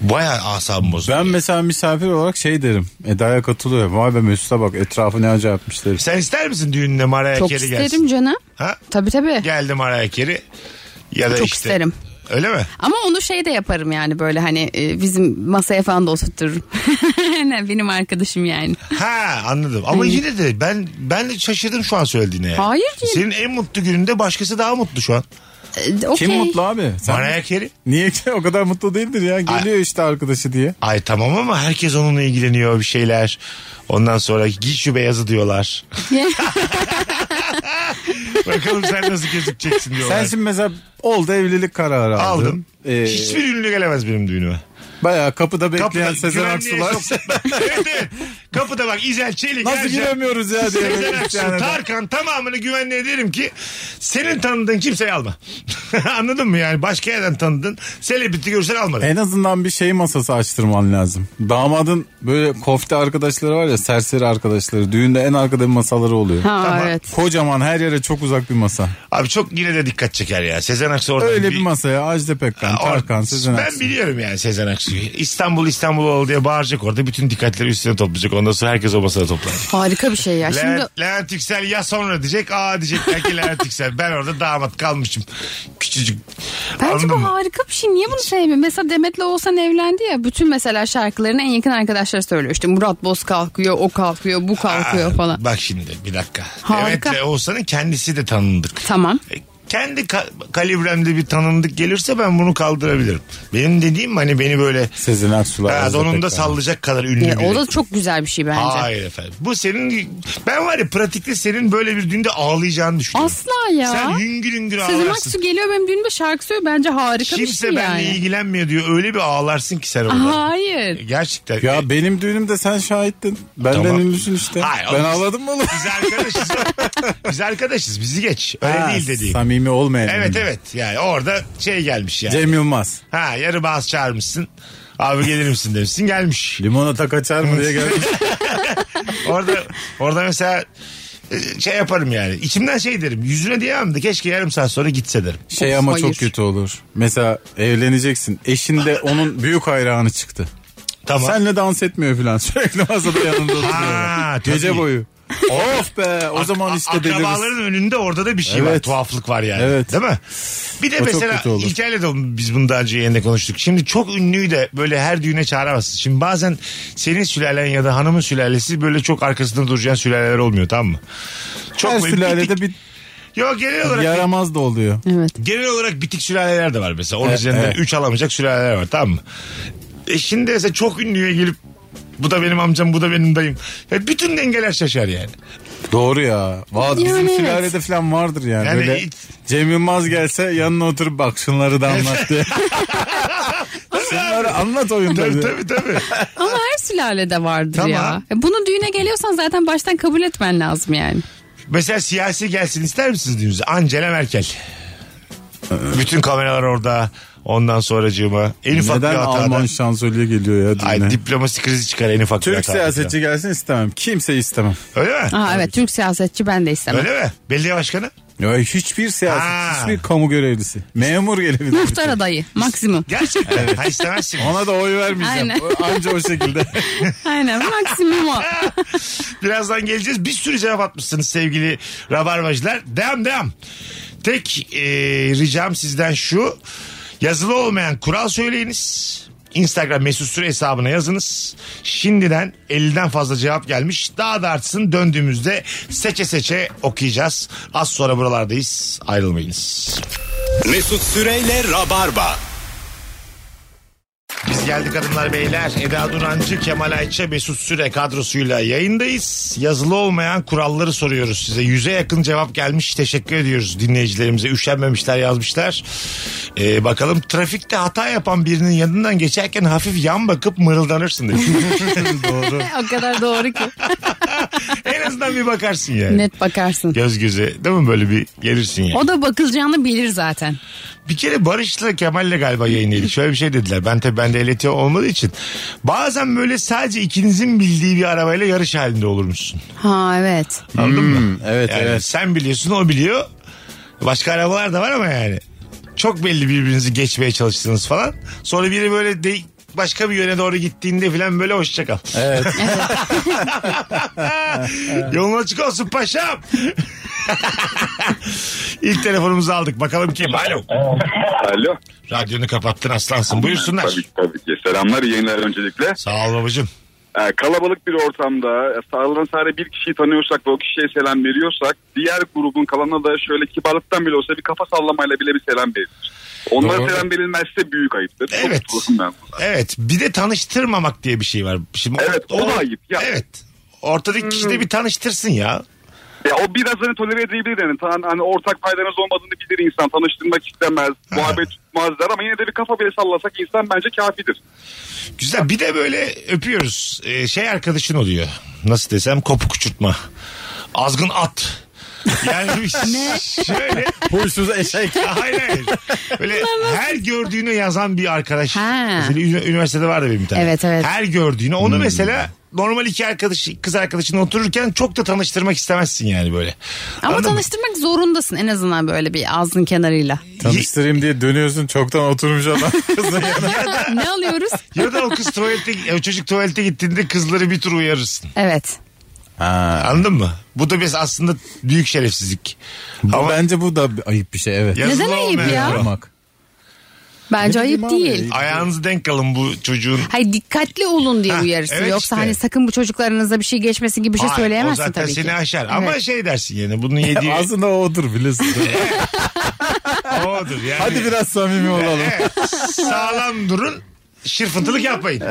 S3: Baya asabım bozuldu.
S5: Ben mesela misafir olarak şey derim. Eda'ya katılıyor. Vay be Mesut'a bak etrafı ne acayipmiş derim.
S3: Sen ister misin düğününe Mariah
S4: Çok
S3: Carey
S4: isterim
S3: gelsin?
S4: canım.
S3: Ha?
S4: Tabii tabii.
S3: Geldi Mariah Carey. Ya da
S4: Çok
S3: işte.
S4: isterim.
S3: Öyle mi?
S4: Ama onu şey de yaparım yani böyle hani e, bizim masaya falan da oturturum. Ne, Benim arkadaşım yani.
S3: Ha anladım. Ama yine de ben ben de şaşırdım şu an söylediğine. yani.
S4: Hayır değil.
S3: Senin en mutlu gününde başkası daha mutlu şu an.
S4: E, okey.
S5: Kim mutlu abi? Sen
S3: Mariah Carey.
S5: Niye ki? o kadar mutlu değildir ya? Geliyor işte arkadaşı diye.
S3: Ay tamam ama herkes onunla ilgileniyor bir şeyler. Ondan sonra giy şu beyazı diyorlar. Bakalım sen nasıl gözükeceksin diyorlar.
S5: Sen şimdi mesela oldu evlilik kararı aldın.
S3: Aldım.
S5: Ee,
S3: Hiçbir ünlü gelemez benim düğünüme.
S5: Bayağı kapıda bekleyen Sezen
S3: güvenliğe
S5: Aksu'lar.
S3: sok- evet, evet. Kapıda bak İzel Çelik.
S5: Nasıl
S3: Ercan,
S5: giremiyoruz ya diye.
S3: Sezen
S5: böyle
S3: Aksu,
S5: bir şey tane de.
S3: Tarkan tamamını güvenliğe derim ki senin tanıdığın kimseyi alma. Anladın mı yani? Başka yerden tanıdın. Selebriti görsen alma.
S5: En azından bir şey masası açtırman lazım. Damadın böyle kofte arkadaşları var ya serseri arkadaşları. Düğünde en arkada bir masaları oluyor.
S4: Ha evet.
S5: Kocaman her yere çok uzak bir masa.
S3: Abi çok yine de dikkat çeker ya. Sezen Aksu oradan.
S5: Öyle bir masaya Ajda Pekkan,
S3: Or-
S5: Tarkan, Sezen
S3: Ben
S5: Aksu.
S3: biliyorum yani Sezen Aksu'yu. İstanbul İstanbul ol diye bağıracak orada. Bütün dikkatleri üstüne toplayacak. Ondan sonra herkes o masada toplar.
S4: Harika bir şey ya. Şimdi
S3: Levent, Levent Yüksel ya sonra diyecek. Aa diyecekler ki Levent Yüksel. Ben orada damat kalmışım. Küçücük.
S4: bence
S3: Anladın
S4: bu
S3: mı?
S4: harika bir şey. Niye bunu sevmiyorum? Mesela Demet'le Oğuzhan evlendi ya. Bütün mesela şarkılarını en yakın arkadaşlar söylüyor. İşte Murat Boz kalkıyor, o kalkıyor, bu kalkıyor
S3: Aa,
S4: falan.
S3: Bak şimdi bir dakika.
S4: Harika.
S3: Evet e, Oğuzhan'ın kendisi de tanındık.
S4: Tamam.
S3: E, kendi ka- kalibremde bir tanındık gelirse ben bunu kaldırabilirim. Benim dediğim hani beni böyle
S5: Sezen Aksu'lar.
S3: ha,
S5: Ajda
S3: donunda
S5: Pekkan.
S3: sallayacak kadar ünlü
S4: Ya,
S3: biri.
S4: E, o da çok güzel bir şey bence.
S3: Hayır efendim. Bu senin ben var ya pratikte senin böyle bir düğünde ağlayacağını düşünüyorum.
S4: Asla ya.
S3: Sen hüngür hüngür
S4: Sezen
S3: ağlarsın.
S4: Aksu geliyor benim düğünüme şarkı söylüyor. Bence harika bir
S3: Kimse
S4: şey
S3: benimle
S4: yani.
S3: ilgilenmiyor diyor. Öyle bir ağlarsın ki sen orada. E,
S4: Hayır.
S3: Gerçekten.
S5: Ya benim düğünümde sen şahittin. Benden
S3: Tamam.
S5: ünlüsün işte.
S3: Hayır,
S5: ben
S3: oğlum.
S5: ağladım mı oğlum?
S3: Biz arkadaşız. Biz arkadaşız. Bizi geç. Öyle
S5: Ha,
S3: değil dediğim.
S5: Samimi olmayan.
S3: Evet
S5: ünlü.
S3: evet. Yani orada şey gelmiş yani.
S5: Cem Yılmaz.
S3: Ha yarı bağız çağırmışsın. Abi gelir misin demişsin gelmiş.
S5: Limonata kaçar mı diye gelmiş.
S3: Orada orada mesela e, şey yaparım yani. İçimden şey derim. Yüzüne diyemem de keşke yarım saat sonra gitse derim.
S5: Şey ama
S4: Hayır.
S5: çok kötü olur. Mesela evleneceksin. Eşin de onun büyük hayranı çıktı.
S3: Tamam.
S5: Senle dans etmiyor falan. Sürekli masada yanında
S3: Ha,
S5: oturuyor.
S3: tabii.
S5: Gece boyu. of be o zaman işte deliriz.
S3: Akrabaların önünde orada da bir şey var.
S5: Evet.
S3: Tuhaflık var yani.
S5: Evet.
S3: Değil mi? Bir de
S5: O çok
S3: mesela
S5: kötü olur.
S3: İlker'le de biz bunu daha önce yayında konuştuk. Şimdi çok ünlüyü de böyle her düğüne çağıramazsın. Şimdi bazen senin sülalen ya da hanımın sülalesi böyle çok arkasında duracağın sülaleler olmuyor tamam mı? Çok
S5: Her
S3: böyle
S5: sülalede
S3: bitik-
S5: bir
S3: Yok genel olarak
S5: yaramaz da oluyor.
S4: Evet.
S3: genel olarak bitik sülaleler de var mesela. Onun
S5: Evet,
S3: üzerinden
S5: evet.
S3: 3 alamayacak sülaleler var tamam mı? E şimdi mesela çok ünlüye gelip bu da benim amcam bu da benim dayım. Ya bütün dengeler şaşar yani.
S5: Doğru ya. Vallahi bizim
S4: Yani evet.
S5: sülalede falan vardır yani.
S3: Yani
S5: Böyle
S3: hiç-
S5: Cem Yılmaz gelse yanına oturup bak şunları da anlat diye. şunları anlat oyunda.
S3: Tabii
S5: diye.
S3: tabii tabii.
S4: Ama her sülalede vardır
S3: Tamam.
S4: ya. E, Bunu düğüne geliyorsan zaten baştan kabul etmen lazım yani.
S3: Mesela siyasi gelsin ister misiniz düğünüze? Angela Merkel. Bütün kameralar orada. Ondan sonracığıma en ufak
S5: Neden
S3: bir hatada.
S5: Alman şansölye geliyor ya
S3: Ay
S5: düğüne?
S3: diplomasi krizi çıkar en ufak bir
S5: Türk
S3: hatada.
S5: siyasetçi gelsin istemem. Kimse istemem.
S3: Öyle mi?
S4: Aha evet Türk siyasetçi ben de istemem.
S3: Öyle mi? Belediye başkanı?
S5: Ya hiçbir siyasetçi,
S3: Ha.
S5: hiçbir kamu görevlisi. Memur gelebilir.
S4: Muhtar adayı maksimum.
S3: Gerçekten. Ha istemezsin.
S5: Ona da oy vermeyeceğim.
S4: Aynen.
S5: O- Anca o şekilde.
S4: Aynen maksimum o.
S3: Birazdan geleceğiz. Bir sürü cevap atmışsınız sevgili rabarbacılar. Devam devam. Tek e, ricam sizden şu. Yazılı olmayan kural söyleyiniz. Instagram mesut süre hesabına yazınız. Şimdiden 50'den fazla cevap gelmiş. Daha da artsın döndüğümüzde seçe seçe okuyacağız. Az sonra buralardayız. Ayrılmayınız.
S2: Mesut Süreyle Rabarba.
S3: Biz geldik hanımlar beyler. Eda Durancı, Kemal Ayça, Mesut Süre kadrosuyla yayındayız. Yazılı olmayan kuralları soruyoruz size. Yüze yakın cevap gelmiş. Teşekkür ediyoruz dinleyicilerimize. Üşenmemişler yazmışlar. Ee, bakalım trafikte hata yapan birinin yanından geçerken hafif yan bakıp mırıldanırsın demiş.
S5: Doğru.
S4: o kadar doğru ki.
S3: en azından bir bakarsın yani.
S4: Net bakarsın.
S3: Göz göze değil mi böyle bir gelirsin yani.
S4: O da bakılacağını bilir zaten.
S3: Bir kere Barış'la Kemal'le galiba yayınladık. Şöyle bir şey dediler. Ben tabii bende ehliyeti olmadığı için. Bazen böyle sadece ikinizin bildiği bir arabayla yarış halinde olurmuşsun.
S4: Ha evet.
S3: Anladın mı?
S5: Hmm, evet
S3: Yani
S5: evet.
S3: sen biliyorsun o biliyor. Başka arabalar da var ama yani. Çok belli birbirinizi geçmeye çalıştınız falan. Sonra biri böyle de başka bir yöne doğru gittiğinde falan böyle hoşçakal.
S5: Evet.
S3: Yolun açık olsun paşam. İlk telefonumuzu aldık. Bakalım kim? Alo.
S7: Alo.
S3: Radyonu kapattın aslansın. Buyursunlar.
S7: Tabii ki, tabii ki. Selamlar iyi yayınlar öncelikle.
S3: Sağ ol babacığım.
S7: Ee, kalabalık bir ortamda sağlanan sadece bir kişiyi tanıyorsak ve o kişiye selam veriyorsak diğer grubun kalanına da şöyle kibarlıktan bile olsa bir kafa sallamayla bile bir selam verilir. Onlara
S3: Doğru.
S7: selam verilmezse büyük ayıptır. Çok
S3: Evet.
S7: tutulurum ben buna.
S3: Evet bir de tanıştırmamak diye bir şey var. Şimdi
S7: Evet, o da ayıp ya. Hmm.
S3: Evet. Ortadaki kişi de bir tanıştırsın ya.
S7: Ya o birazını tolere edebilir yani. Tan, hani ortak paydanız olmadığını bilir insan. Tanıştırmak istemez, muhabbet tutmazlar ama yine de bir kafa bile sallasak insan bence kafidir.
S3: Güzel bir de böyle öpüyoruz. Ee, şey arkadaşın oluyor. Nasıl desem kopuk uçurtma. Azgın at. Yani bir- şöyle
S5: Huysuz eşek.
S3: hayır hayır. Böyle her gördüğünü yazan bir arkadaş.
S4: Ha.
S3: Mesela ü- üniversitede vardı benim bir tane.
S4: Evet, evet.
S3: Her gördüğünü onu
S5: Hmm.
S3: mesela normal iki arkadaş kız arkadaşınla otururken çok da tanıştırmak istemezsin yani böyle.
S4: Ama
S3: Anladın mı?
S4: tanıştırmak zorundasın en azından böyle bir ağzın kenarıyla.
S5: Tanıştırayım diye dönüyorsun çoktan oturmuş adam kızın yanına.
S4: ne alıyoruz?
S3: Ya da o kız tuvalete, o çocuk tuvalete gittiğinde kızları bir tur uyarırsın.
S4: Evet.
S3: Anladın mı? Bu da mesela aslında büyük şerefsizlik.
S5: Bu-
S3: Ama-
S5: Bence bu da bir ayıp bir şey evet.
S3: Yazılı
S4: Neden ayıp
S3: olmayan
S4: ya?
S3: kural.
S5: Yapmak.
S4: Bence
S5: Ne bileyim
S4: ayıp
S5: abi,
S4: değil.
S3: Ayağınızı denk alın bu çocuğun.
S4: Hayır dikkatli olun diye
S3: Ha,
S4: uyarırsın.
S3: evet işte.
S4: Yoksa hani sakın bu çocuklarınıza bir şey geçmesin gibi bir şey
S3: Ay,
S4: söyleyemezsin
S3: o zaten
S4: tabii ki.
S3: seni aşar. Ama
S4: Evet.
S3: şey dersin yani bunun yediği
S5: Aslında odur bilirsin.
S3: odur yani.
S5: Hadi biraz samimi olalım.
S3: Evet, sağlam durun. Şırfıntılık yapmayın.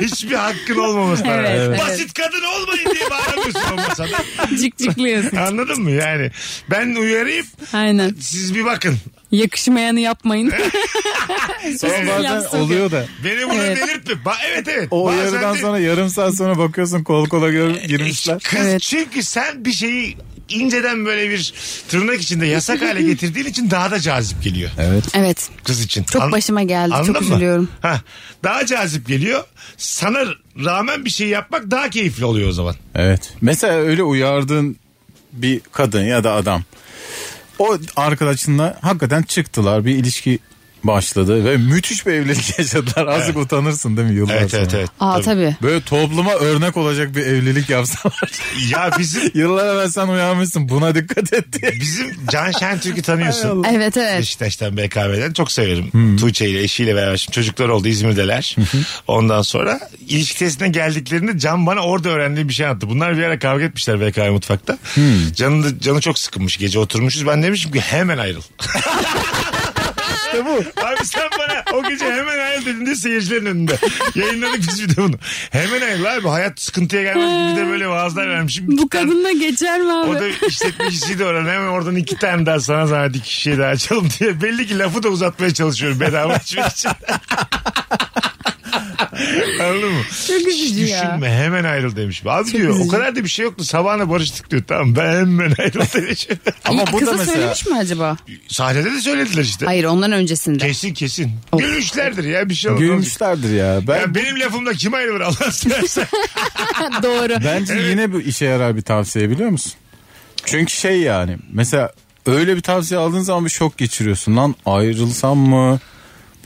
S3: Hiçbir hakkın olmaması
S4: Evet,
S3: lazım.
S4: evet.
S3: Basit kadın olmayın diye bağırıyorsun o masada.
S4: Cik cikliyorsun.
S3: Anladın mı yani? Ben uyarayım
S4: Aynen.
S3: siz bir bakın.
S4: Yakışmayanı yapmayın.
S5: Sonra bazen
S4: Yapsın.
S5: oluyor da.
S3: Beni buna
S4: Evet.
S3: delirtme. Ba- evet evet.
S5: O
S3: Bazen
S5: uyarıdan
S3: de- E,
S5: sonra yarım saat sonra bakıyorsun kol kola gör- girmişler.
S3: Kız
S4: Evet.
S3: çünkü sen bir şeyi inceden böyle bir tırnak içinde yasak hale getirdiğin için daha da cazip geliyor
S4: evet.
S3: kız için.
S4: Çok başıma geldi, çok
S3: anladın mı?
S4: üzülüyorum.
S3: Ha, daha cazip geliyor. Sana rağmen bir şey yapmak daha keyifli oluyor o zaman.
S5: Evet. Mesela öyle uyardığın bir kadın ya da adam. O arkadaşınla hakikaten çıktılar bir ilişki başladı ve müthiş bir evlilik yaşadılar. Azıcık utanırsın değil mi yıllar
S3: Evet
S5: sonra?
S3: evet evet.
S4: Aa tabii.
S5: Böyle topluma örnek olacak bir evlilik yapsalar.
S3: Ya bizim
S5: Yıllar evvel sen uyanmışsın buna dikkat et diye.
S3: bizim Can Şentürk'ü tanıyorsun.
S4: Evet evet.
S3: Beşiktaş'tan BKM'den çok severim.
S5: Hmm.
S3: Tuğçe ile eşiyle beraber şimdi çocuklar oldu İzmir'deler. Ondan sonra ilişki testine geldiklerinde Can bana orada öğrendiği bir şey anlattı. Bunlar bir ara kavga etmişler BKM mutfakta.
S5: Hmm.
S3: Can'ın da, canı çok sıkılmış gece oturmuşuz. Ben demişim ki hemen ayrıl.
S5: İşte bu.
S3: Abi sen bana o gece hemen ayrıl dedin diye seyircilerin önünde. Yayınladık biz bir de bunu. Hemen ayrıl abi hayat sıkıntıya gelmez. Bir de böyle vaazlar vermişim.
S4: Bu
S3: İki tane-
S4: kadınla geçer mi abi?
S3: o da işletmecisiydi oranın. Hemen oradan iki tane daha sana zahmet iki kişiye daha açalım diye. Belli ki lafı da uzatmaya çalışıyorum bedava açmak için. Anladın mı?
S4: Çok üzücü
S3: Hiç
S4: ya.
S3: Düşünme hemen ayrıl demiş. Abi diyor o
S4: üzücü.
S3: kadar da bir şey yoktu. Sabahına barıştık diyor. Tamam ben hemen ayrıl demiş.
S5: Ama
S4: İlk
S5: bu da
S4: kıza
S5: mesela-
S4: söylemiş mi acaba?
S3: Sahnede de söylediler işte.
S4: Hayır ondan öncesinde.
S3: Kesin kesin.
S4: Of.
S3: Gülmüşlerdir ya bir şey olmaz.
S5: Gülmüşlerdir ya. Ben,
S3: Ya benim lafımla kim ayrılır Allah seversen.
S4: Doğru.
S5: Bence yine bu işe yarar bir tavsiye biliyor musun? Çünkü şey yani mesela öyle bir tavsiye aldığın zaman bir şok geçiriyorsun. Lan ayrılsam mı?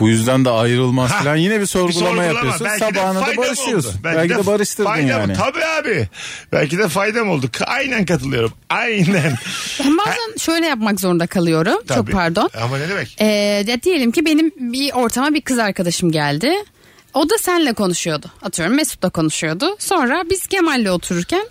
S5: Bu yüzden de ayrılmaz
S3: Ha,
S5: falan. Yine bir
S3: Bir
S5: sorgulama,
S3: sorgulama.
S5: yapıyorsun.
S3: Belki de
S5: Sabahına da
S3: faydam
S5: barışıyorsun.
S3: oldu.
S5: Belki, de, barıştırdın
S3: faydam-
S5: yani.
S3: Tabii abi. Belki de faydam oldu. Ka- Aynen katılıyorum. Aynen.
S4: Ben bazen şöyle yapmak zorunda kalıyorum. Çok
S3: Tabii.
S4: pardon.
S3: Ama ne demek?
S4: Ee, ya diyelim ki benim bir ortama bir kız arkadaşım geldi. O da senle konuşuyordu. Atıyorum Mesut'la konuşuyordu. Sonra biz Kemal'le otururken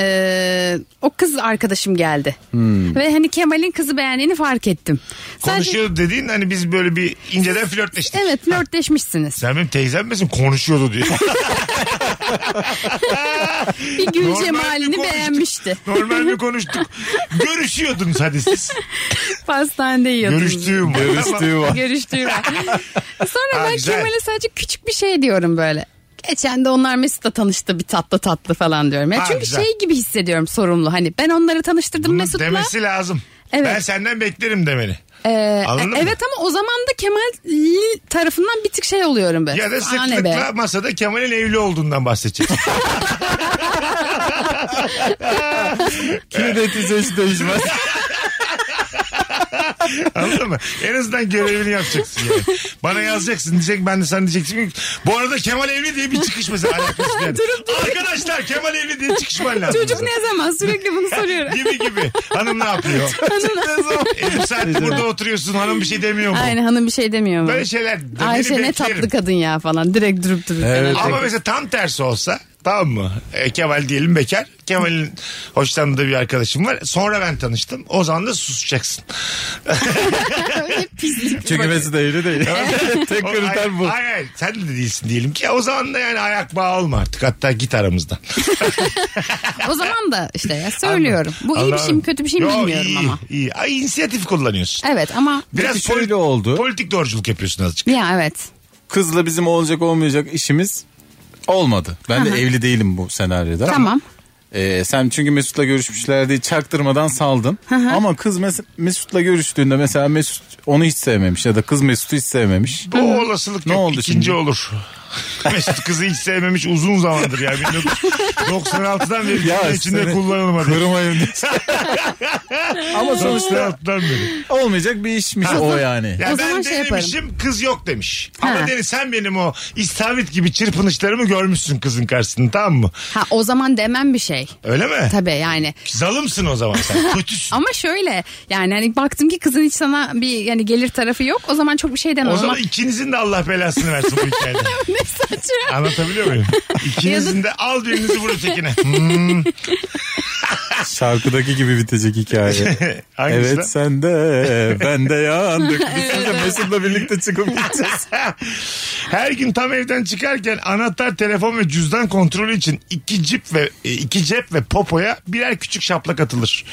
S4: ee, o kız arkadaşım geldi.
S3: Hmm.
S4: Ve hani Kemal'in kızı beğendiğini fark ettim. Sadece-
S3: Konuşuyordu dediğin hani biz böyle bir inceden flörtleştik.
S4: Evet flörtleşmişsiniz.
S3: Sen benim teyzem misin? Konuşuyordu diyor.
S4: Bir gül
S3: Normal bir
S4: cemalini
S3: konuştuk.
S4: beğenmişti.
S3: Normal mi konuştuk? Görüşüyordunuz hadi siz.
S4: Pastanede yiyordunuz.
S3: Görüştüğüm. var.
S5: Görüştüğü var.
S4: Görüştüğü var. Sonra
S3: Ha,
S4: ben
S3: güzel.
S4: Kemal'e sadece küçük bir şey diyorum böyle. Geçen de onlar Mesut'la tanıştı bir tatlı tatlı falan diyorum. Ya
S3: Ha,
S4: çünkü
S3: güzel.
S4: şey gibi hissediyorum sorumlu. Hani ben onları tanıştırdım
S3: Bunun
S4: Mesut'la.
S3: demesi lazım.
S4: Evet.
S3: Ben senden beklerim demeni.
S4: Ee,
S3: Anladın mı?
S4: evet ama o zaman da Kemal tarafından bir tık şey oluyorum ben.
S3: Ya da
S4: Aa, ne
S3: sıklıkla
S4: be.
S3: masada Kemal'in evli olduğundan bahsedeceksin.
S5: Kreditize hiç değişmez.
S3: Anladın mı? En azından görevini yapacaksın yani. Bana yazacaksın diyecek ben de sen diyeceksin. ki, Bu arada Kemal evli diye bir çıkış mesela. alakası yani. Arkadaşlar Kemal evli diye çıkışman lazım.
S4: Çocuk
S3: bize.
S4: ne zaman sürekli bunu soruyor.
S3: Gibi gibi. Hanım ne yapıyor? Elif saatte burada oturuyorsun hanım bir şey demiyor mu?
S4: Aynen hanım bir şey demiyor mu?
S3: Böyle şeyler. de
S4: Ayşe
S3: beni
S4: ne
S3: beklerim.
S4: tatlı kadın ya falan. Direkt durup durup.
S5: Evet.
S4: kenara.
S3: Ama mesela tam tersi olsa tamam mı? E, Kemal diyelim bekar. Kemal'in hoşlandığı bir arkadaşım var. Sonra ben tanıştım. O zaman da susacaksın.
S4: Hep pislik.
S5: Çünkü Mesut evli değil. Tek
S3: O-
S5: kriter bu.
S3: Hayır, hayır, sen de değilsin diyelim ki o zaman da yani ayak bağı olma artık hatta git aramızdan.
S4: O zaman da işte ya söylüyorum. Bu iyi bir şey mi kötü bir şey mi
S3: Yo,
S4: bilmiyorum
S3: iyi,
S4: ama.
S3: Iyi. Ay, inisiyatif kullanıyorsun.
S4: Evet ama
S3: Biraz
S5: Peki şöyle oldu.
S3: Politik doğruculuk yapıyorsun azıcık.
S4: ya evet.
S5: Kızla bizim olacak olmayacak işimiz olmadı. Ben de
S4: Aha.
S5: evli değilim bu senaryoda.
S4: Tamam.
S5: Ee, sen çünkü Mesut'la görüşmüşlerdi çaktırmadan saldın. Ama kız Mes- Mesut'la görüştüğünde mesela Mesut onu hiç sevmemiş ya da kız Mesut'u hiç sevmemiş.
S3: Bu olasılık
S5: Ne
S3: yok.
S5: oldu
S3: İkinci
S5: şimdi?
S3: olur. Mesut kızı hiç sevmemiş uzun zamandır ya. 1996'dan beri ya içinde
S5: seni
S3: kullanılmadı.
S5: kırmayın diye. Ama sonuçta
S3: 1996'dan beri.
S5: olmayacak bir işmiş o yani.
S3: Ya
S4: O
S3: ben
S4: zaman şey
S3: denemişim kız yok demiş. Ama
S4: Ha.
S3: dedi sen benim o istavrit gibi çırpınışlarımı görmüşsün kızın karşısında tamam mı?
S4: Ha o zaman demem bir şey.
S3: Öyle mi?
S4: Tabii yani.
S3: Zalımsın o zaman sen. Kötüsün.
S4: Ama şöyle yani hani baktım ki kızın hiç sana bir yani gelir tarafı yok. O zaman çok bir şey demem
S3: O
S4: ama
S3: zaman ikinizin de Allah belasını versin bu hikayede.
S4: ne saçma.
S3: Anlatabiliyor muyum? İkinizin de al birinizi vur ötekine.
S5: Şarkıdaki gibi bitecek hikaye.
S3: Hangisi lan?
S5: evet sen de ben de yandık. Biz de Mesut'la birlikte çıkıp gideceğiz.
S3: Her gün tam evden çıkarken anahtar, telefon ve cüzdan kontrolü için iki cip ve e, iki cep ve popoya birer küçük şaplak atılır.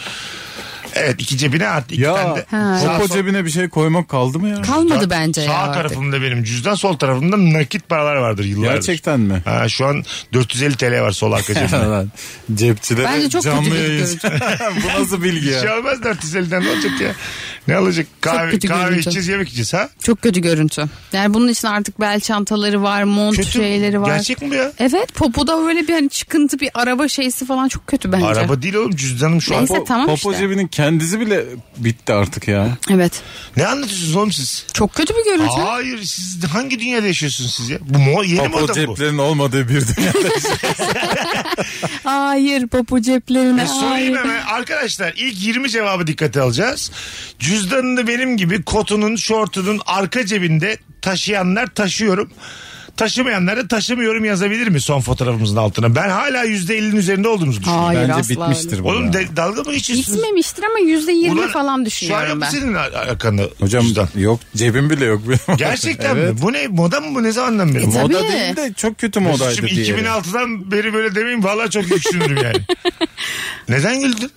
S3: Evet iki cebine artı iki tane
S5: Ya
S3: de. Sağ-
S5: popo cebine bir şey koymak kaldı mı ya?
S4: Kalmadı bence
S3: Sağ
S4: ya. artık.
S3: tarafımda benim cüzdan sol tarafımda nakit paralar vardır yıllardır.
S5: Gerçekten mi?
S3: Ha, şu an 450 TL var sol arka cebimde.
S5: Lan, Cepçide de
S4: Bence çok
S5: canlı
S4: kötü
S5: yayın. Bu nasıl bilgi
S3: Bir şey
S5: ya?
S3: olmaz 450'den ne olacak ya? Ne olacak? Kahve,
S4: kötü
S3: kahve
S4: görüntü.
S3: içeceğiz yemek yiyeceğiz ha?
S4: Çok kötü görüntü. Yani bunun için artık bel çantaları var, mont
S3: Kötü.
S4: şeyleri var.
S3: Gerçek mi bu ya?
S4: Evet popoda böyle bir hani çıkıntı bir araba şeysi falan çok kötü bence.
S3: Araba değil oğlum cüzdanım şu an.
S4: Neyse tamam
S5: Popo
S4: işte.
S5: cebinin kendisi bile bitti artık ya.
S4: Evet.
S3: Ne anlatıyorsunuz oğlum siz?
S4: Çok kötü bir görüntü.
S3: Hayır siz hangi dünyada yaşıyorsunuz siz ya? Bu mo yeni
S5: Popo
S3: moda bu.
S5: ceplerin olmadığı bir dünya.
S4: Hayır popo ceplerine.
S3: E, sorayım
S4: hayır.
S3: hemen. Arkadaşlar ilk 20 cevabı dikkate alacağız. Cüzdanını benim gibi kotunun, şortunun arka cebinde taşıyanlar taşıyorum. Taşımayanlar da taşımıyorum yazabilir mi son fotoğrafımızın altına? Ben hala %50'nin üzerinde olduğumuzu düşünüyorum.
S4: Hayır,
S5: Bence
S4: asla
S5: bitmiştir
S4: öyle.
S5: bu.
S3: Oğlum
S5: ya.
S3: de- dalga mı geçiyorsunuz?
S4: Gitmemiştir ama yüzde
S3: Ulan,
S4: yirmi falan
S3: Şu an
S4: düşünüyorum
S3: yok
S4: ben.
S3: mu senin ar- arkanda
S5: Hocam
S3: cüzdan?
S5: yok cebim bile yok. benim.
S3: Gerçekten
S5: Evet.
S3: mi? Bu ne? Moda mı bu? Ne zamandan beri?
S4: E,
S5: Moda
S4: Tabii.
S5: değil de çok kötü modaydı
S3: Şimdi
S5: diye.
S3: 2006'dan beri böyle demeyin valla çok güçlüdür yani. Neden güldün?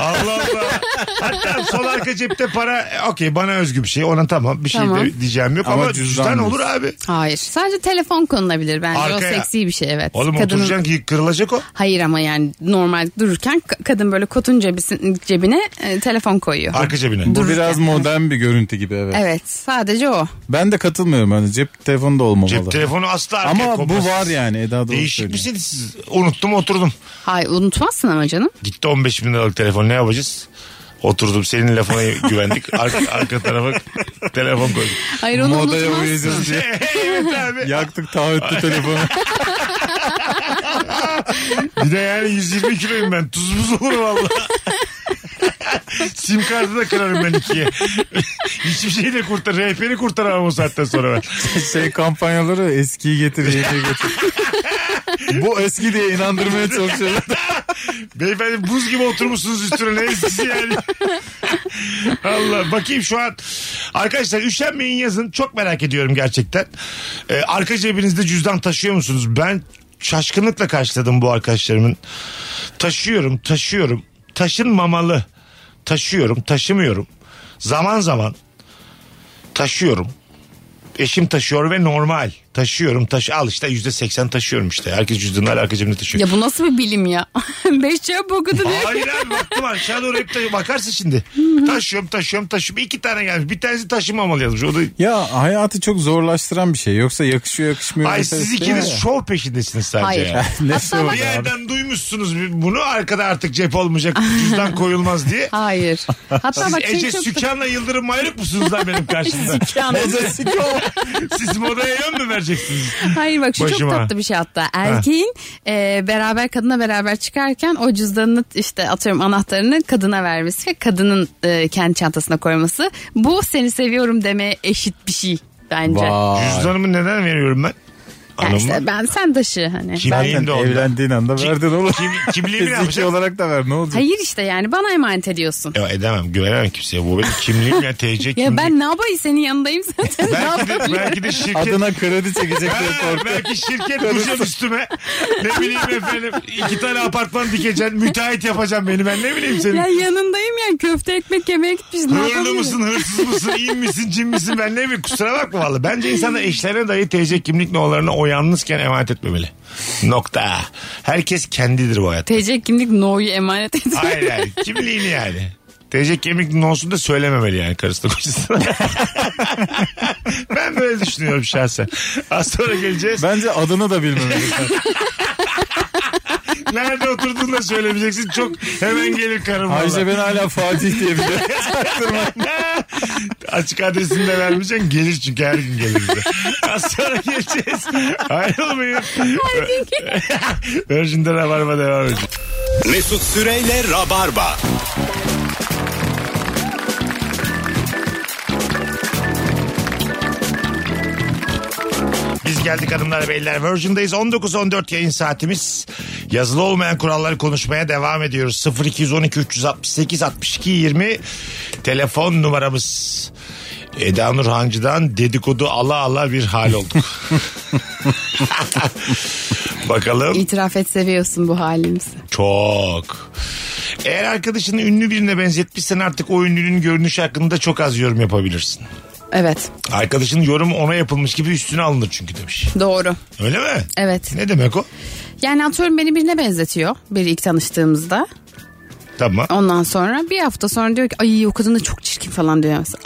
S3: Allah Allah. Hatta sol arka cepte para e, okey bana özgü bir şey ona tamam bir şey
S4: Tamam.
S3: de diyeceğim yok ama,
S5: Ama
S3: cüzdan,
S5: cüzdan
S3: olur abi.
S4: Hayır. Sadece telefon konulabilir bence.
S3: Arkaya.
S4: O seksi bir şey evet.
S3: Oğlum
S4: Kadının-
S3: oturacaksın ki kırılacak o.
S4: Hayır ama yani normal dururken ka- kadın böyle kotun cebisin, cebine e, telefon koyuyor.
S3: Arka cebine.
S5: Bu
S4: Dururken.
S5: biraz modern bir görüntü gibi evet.
S4: Evet sadece o.
S5: Ben de katılmıyorum. Hani cep telefonu da olmamalı.
S3: Cep telefonu asla arkaya
S5: Ama
S3: konmaz.
S5: bu var yani Eda doğru
S3: Değişik
S5: söylüyor.
S3: misiniz siz? Unuttum oturdum.
S4: Hayır unutmazsın ama canım.
S3: Gitti 15 bin liralık telefon ne yapacağız? Oturdum senin lafına güvendik. Arka, arka tarafa telefon koyduk.
S4: Hayır onu
S5: Modaya
S4: unutmazsın.
S5: uyacağız diye.
S3: evet abi.
S5: Yaktık taahhütlü telefonu.
S3: Bir de yani 120 kiloyum ben. Tuz buz olur valla. Sim kartı da kırarım ben ikiye. Hiçbir şeyi de kurtar. Rehberi kurtaramam o saatten sonra ben.
S5: şey kampanyaları eskiyi getir yeniyi getir. bu eski diye inandırmaya çalışıyorlar.
S3: Beyefendi buz gibi oturmuşsunuz üstüne. Ne eskisi yani. Allah bakayım şu an. Arkadaşlar üşenmeyin yazın. Çok merak ediyorum gerçekten. Ee, arka cebinizde cüzdan taşıyor musunuz? Ben şaşkınlıkla karşıladım bu arkadaşlarımın. Taşıyorum, taşıyorum. Taşınmamalı. Taşıyorum, taşımıyorum. Zaman zaman taşıyorum. Eşim taşıyor ve normal. Taşıyorum, taş al işte yüzde seksen taşıyorum işte. Herkes cüzdanını arka cebinde taşıyor.
S4: Ya bu nasıl bir bilim ya? Beş cevap okudu diye.
S3: Hayır abi baktım aşağı doğru hep taşı- bakarsın şimdi. Taşıyorum taşıyorum taşıyorum. İki tane gelmiş. Bir tanesi taşımamalı yazmış. O da
S5: Ya hayatı çok zorlaştıran bir şey. Yoksa yakışıyor yakışmıyor.
S3: Ay
S5: meselesi
S3: siz
S5: değil
S3: ikiniz
S5: ya.
S3: şov peşindesiniz sadece.
S4: Hayır.
S3: ya.
S5: Ne
S4: Hatta
S5: şovu
S4: bak-
S3: Bir
S5: ya?
S3: yerden duymuşsunuz bunu arkada artık cep olmayacak cüzdan koyulmaz diye.
S4: Hayır. Hatta
S3: Siz
S4: bak şey
S3: Ece
S4: çok...
S3: Sükan'la Yıldırım Mayrık mısınız lan benim karşımda? Siz modaya yön mü vereceksiniz?
S4: Hayır bak şu
S3: Başıma.
S4: çok tatlı bir şey hatta. Erkeğin e, beraber kadına beraber çıkarken o cüzdanını işte atıyorum anahtarını kadına vermesi ve kadının e, kendi çantasına koyması. Bu seni seviyorum demeye eşit bir şey bence.
S5: Vay.
S3: Cüzdanımı neden veriyorum ben?
S4: Yani
S3: Hanım
S4: işte ben sen taşı hani.
S3: kimliğin de onda.
S5: Evlendiğin anda
S3: Ki-
S5: verdin oğlum.
S3: kim- kimliği mi
S5: Fiziki
S3: yapacak?
S5: olarak da ver ne olacak?
S4: Hayır işte yani bana emanet ediyorsun.
S3: Ya edemem güvenemem kimseye. Bu benim kimliğim ya TC kimliğim.
S4: Ya ben ne yapayım senin yanındayım zaten. ne
S3: belki de,
S4: yapabilirim?
S3: belki de şirket
S5: Adına kredi çekecek diye
S3: Ha,
S5: korkuyor.
S3: belki şirket diyeceğim üstüme. Ne bileyim efendim. iki tane apartman dikeceksin. Müteahhit yapacağım beni. Ben ne bileyim
S4: Ya
S3: senin.
S4: yanındayım yani köfte ekmek yemeye gitmiş. Ne
S3: Hırlı
S4: yapabilirim?
S3: mısın, hırsız mısın, iyi misin, cin misin ben ne bileyim. Kusura bakma valla. Bence insanlar eşlerine dahi TC kimlik numaralarını o yalnızken emanet etmemeli. Nokta. Herkes kendidir bu hayatta.
S4: TC kimlik no'yu emanet ediyor.
S3: Hayır hayır. Kimliğini yani. TC kimlik numarasını da söylememeli yani karısına kocasına. ben böyle düşünüyorum şahsen. Az sonra geleceğiz.
S5: Bence adını da bilmemeli.
S3: Nerede oturduğunu da söylemeyeceksin. Çok hemen gelir karım.
S5: Ayşe
S3: valla.
S5: ben hala Fatih diye şey biliyorum.
S3: Açık adresini de vermeyeceksin. Gelir çünkü her gün gelir bize. Az sonra geleceğiz. Ayrılmayın. Virgin'de Rabarba devam edecek.
S2: Mesut Süreyle Rabarba.
S3: Biz geldik hanımlar beyler. Virgin'dayız. 19-14 yayın saatimiz. Yazılı olmayan kuralları konuşmaya devam ediyoruz. 0212 368 62 20 telefon numaramız. Eda Nur Hancı'dan dedikodu ala ala bir hal olduk. Bakalım.
S4: İtiraf et seviyorsun bu halimizi.
S3: Çok. Eğer arkadaşını ünlü birine benzetmişsen artık o ünlünün görünüşü hakkında çok az yorum yapabilirsin.
S4: Evet
S3: Arkadaşının yorumu ona yapılmış gibi üstüne alınır çünkü demiş.
S4: doğru.
S3: Öyle mi?
S4: Evet.
S3: Ne demek o?
S4: Yani atıyorum beni birine benzetiyor. Biri ilk tanıştığımızda.
S3: Tamam.
S4: Ondan sonra bir hafta sonra diyor ki ay o kadın da çok çirkin falan diyor mesela.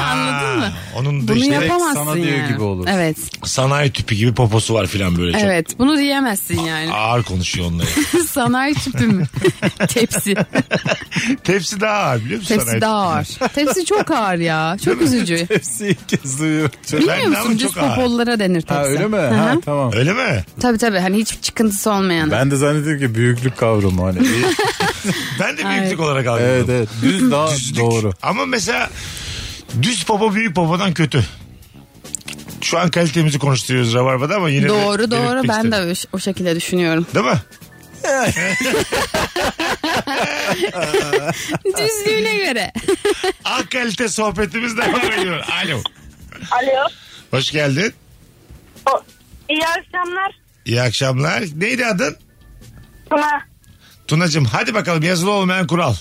S3: Anladın mı? Onun da
S4: Bunu
S3: işte
S4: yapamazsın
S5: sana diyor
S4: yani.
S5: gibi olur.
S4: Evet.
S3: sanayi tüpü gibi poposu var filan böyle çok. Ah.
S4: Evet. Bunu diyemezsin yani.
S3: Ağır konuşuyor onları.
S4: Sanayi tüpü mü? Tepsi.
S3: Tepsi daha ağır biliyor musun?
S4: Tepsi
S3: sanayi
S4: daha ağır. Tepsi çok ağır ya. Çok üzücü.
S5: Hepsi ilk kez duyuyorum. Çok-
S3: Ben de
S4: Bilmiyor
S3: ama
S4: musun? Düz
S3: çok ağır.
S4: popollara denir tepsi.
S5: Ha öyle mi?
S4: Hı
S5: Ha
S4: hı.
S5: tamam.
S3: tüpü? Öyle mi?
S4: Tabii tabii. Hani hiç çıkıntısı olmayan.
S5: Ben de zannediyorum ki büyüklük kavramı hani.
S3: Ben de
S4: Hayır.
S3: büyüklük olarak algıladım.
S5: evet evet. Düz daha doğru.
S3: Ama mesela düz popo büyük popodan kötü. Şu an kalitemizi konuşturuyoruz Rabarba'da ama yine de
S4: Doğru doğru.
S3: belirtmek
S4: Ben de
S3: istedim.
S4: o, o şekilde düşünüyorum.
S3: Değil mi?
S4: Düzlüğüne göre.
S3: Al kalite sohbetimiz devam ediyor. Alo.
S8: Alo.
S3: Hoş geldin.
S8: O, iyi akşamlar.
S3: İyi akşamlar. Neydi adın?
S8: Sana
S3: Tunacığım hadi bakalım yazılı olmayan kural.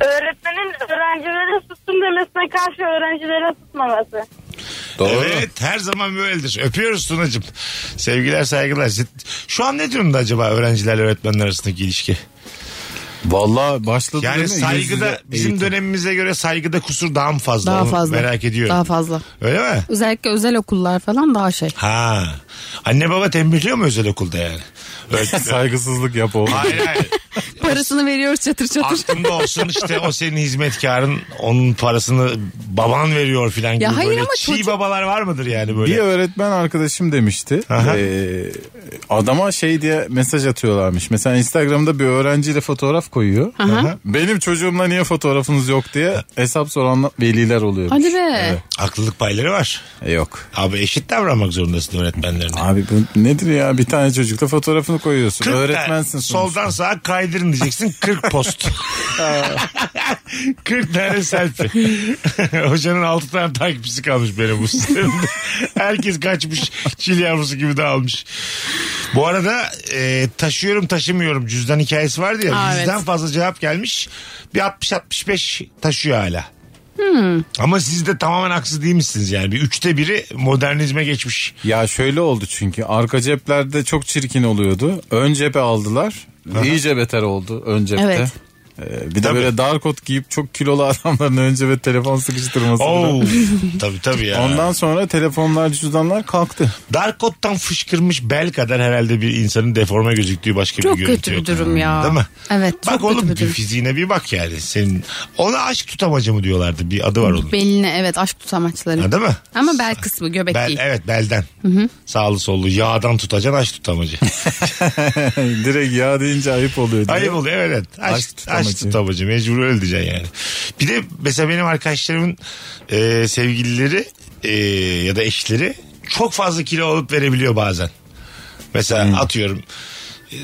S8: öğretmenin öğrencilere sussun demesine karşı öğrencilere susmaması.
S3: Evet her zaman böyledir. Öpüyoruz Tunacığım. Sevgiler saygılar. Şu an ne durumda acaba öğrencilerle öğretmenler arasındaki ilişki?
S5: Valla başladı
S3: Yani
S5: değil mi? Yüz
S3: saygıda
S5: yüze
S3: bizim
S5: eğitim.
S3: dönemimize göre saygıda kusur daha mı fazla?
S4: Daha
S3: Onu
S4: fazla.
S3: Merak ediyorum.
S4: Daha fazla.
S3: Öyle mi?
S4: Özellikle özel okullar falan daha şey.
S3: Ha. Anne baba tembihliyor mu özel okulda yani? Öğretmen-
S5: Saygısızlık yap oğlum.
S3: hayır hayır.
S4: Parasını veriyoruz çatır çatır.
S3: Aklında olsun işte o senin hizmetkarın onun parasını baban veriyor filan gibi.
S4: hayır
S3: böyle
S4: ama
S3: çiğ
S4: çocuk-
S3: babalar var mıdır yani böyle?
S5: Bir öğretmen arkadaşım demişti.
S3: Aha.
S5: Ee, adama şey diye mesaj atıyorlarmış. Mesela Instagram'da bir öğrenciyle fotoğraf koyuyor.
S3: Aha.
S5: Benim çocuğumla niye fotoğrafınız yok diye hesap soran veliler oluyor.
S4: Hadi be.
S3: Haklılık payları var.
S5: yok.
S3: Abi eşit davranmak zorundasın öğretmenlerine.
S5: Abi bu nedir ya bir tane çocukla fotoğrafını koyuyorsun.
S3: 40
S5: Öğretmensin
S3: tane-
S5: sonuçta.
S3: Soldan sağa kaydırın diyeceksin 40 post. 40 tane selfie. Hocanın 6 tane takipçisi kalmış benim bu sistemde. Herkes kaçmış çil yavrusu gibi dağılmış. Bu arada e, taşıyorum taşımıyorum cüzdan hikayesi vardı ya.
S4: Aa, evet.
S3: Yüzden fazla cevap gelmiş. Bir 60-65 taşıyor hala. Ama siz de tamamen haksız değil misiniz yani? Bir üçte biri modernizme geçmiş.
S5: Ya şöyle oldu çünkü arka ceplerde çok çirkin oluyordu. Ön cebe aldılar. İyice beter oldu ön cepte.
S4: Evet.
S5: Ee, bir de
S3: Tabii.
S5: böyle dar kot giyip çok kilolu adamların ön cebe telefon sıkıştırması.
S3: Oo,
S5: falan.
S3: tabii tabii Oh. ya.
S5: Ondan sonra telefonlar cüzdanlar kalktı.
S3: Darkot'tan fışkırmış bel kadar herhalde bir insanın deforme gözüktüğü başka
S4: Çok
S3: bir görüntü
S4: kötü bir
S3: yok.
S4: durum ya.
S3: Değil mi?
S4: Evet,
S3: Bak
S4: çok kötü
S3: oğlum
S4: bir
S3: bir
S4: durum.
S3: fiziğine bir bak yani. Senin ona aşk tutamacı mı diyorlardı bir adı var onun.
S4: Beline evet aşk tutamaçları.
S3: Ha, değil mi?
S4: Ama bel kısmı göbek
S3: Bel,
S4: değil.
S3: evet belden. Sağlı sollu yağdan tutacaksın aşk tutamacı.
S5: Direkt ya deyince ayıp oluyor. diye.
S3: Ayıp oluyor evet. Aşk, aşk
S5: Aşk
S3: tutamacı.
S5: tutamacı.
S3: mecbur öyle diyeceksin yani. Bir de mesela benim arkadaşlarımın e, sevgilileri e, ya da eşleri çok fazla kilo alıp verebiliyor bazen. Mesela
S5: Hmm.
S3: atıyorum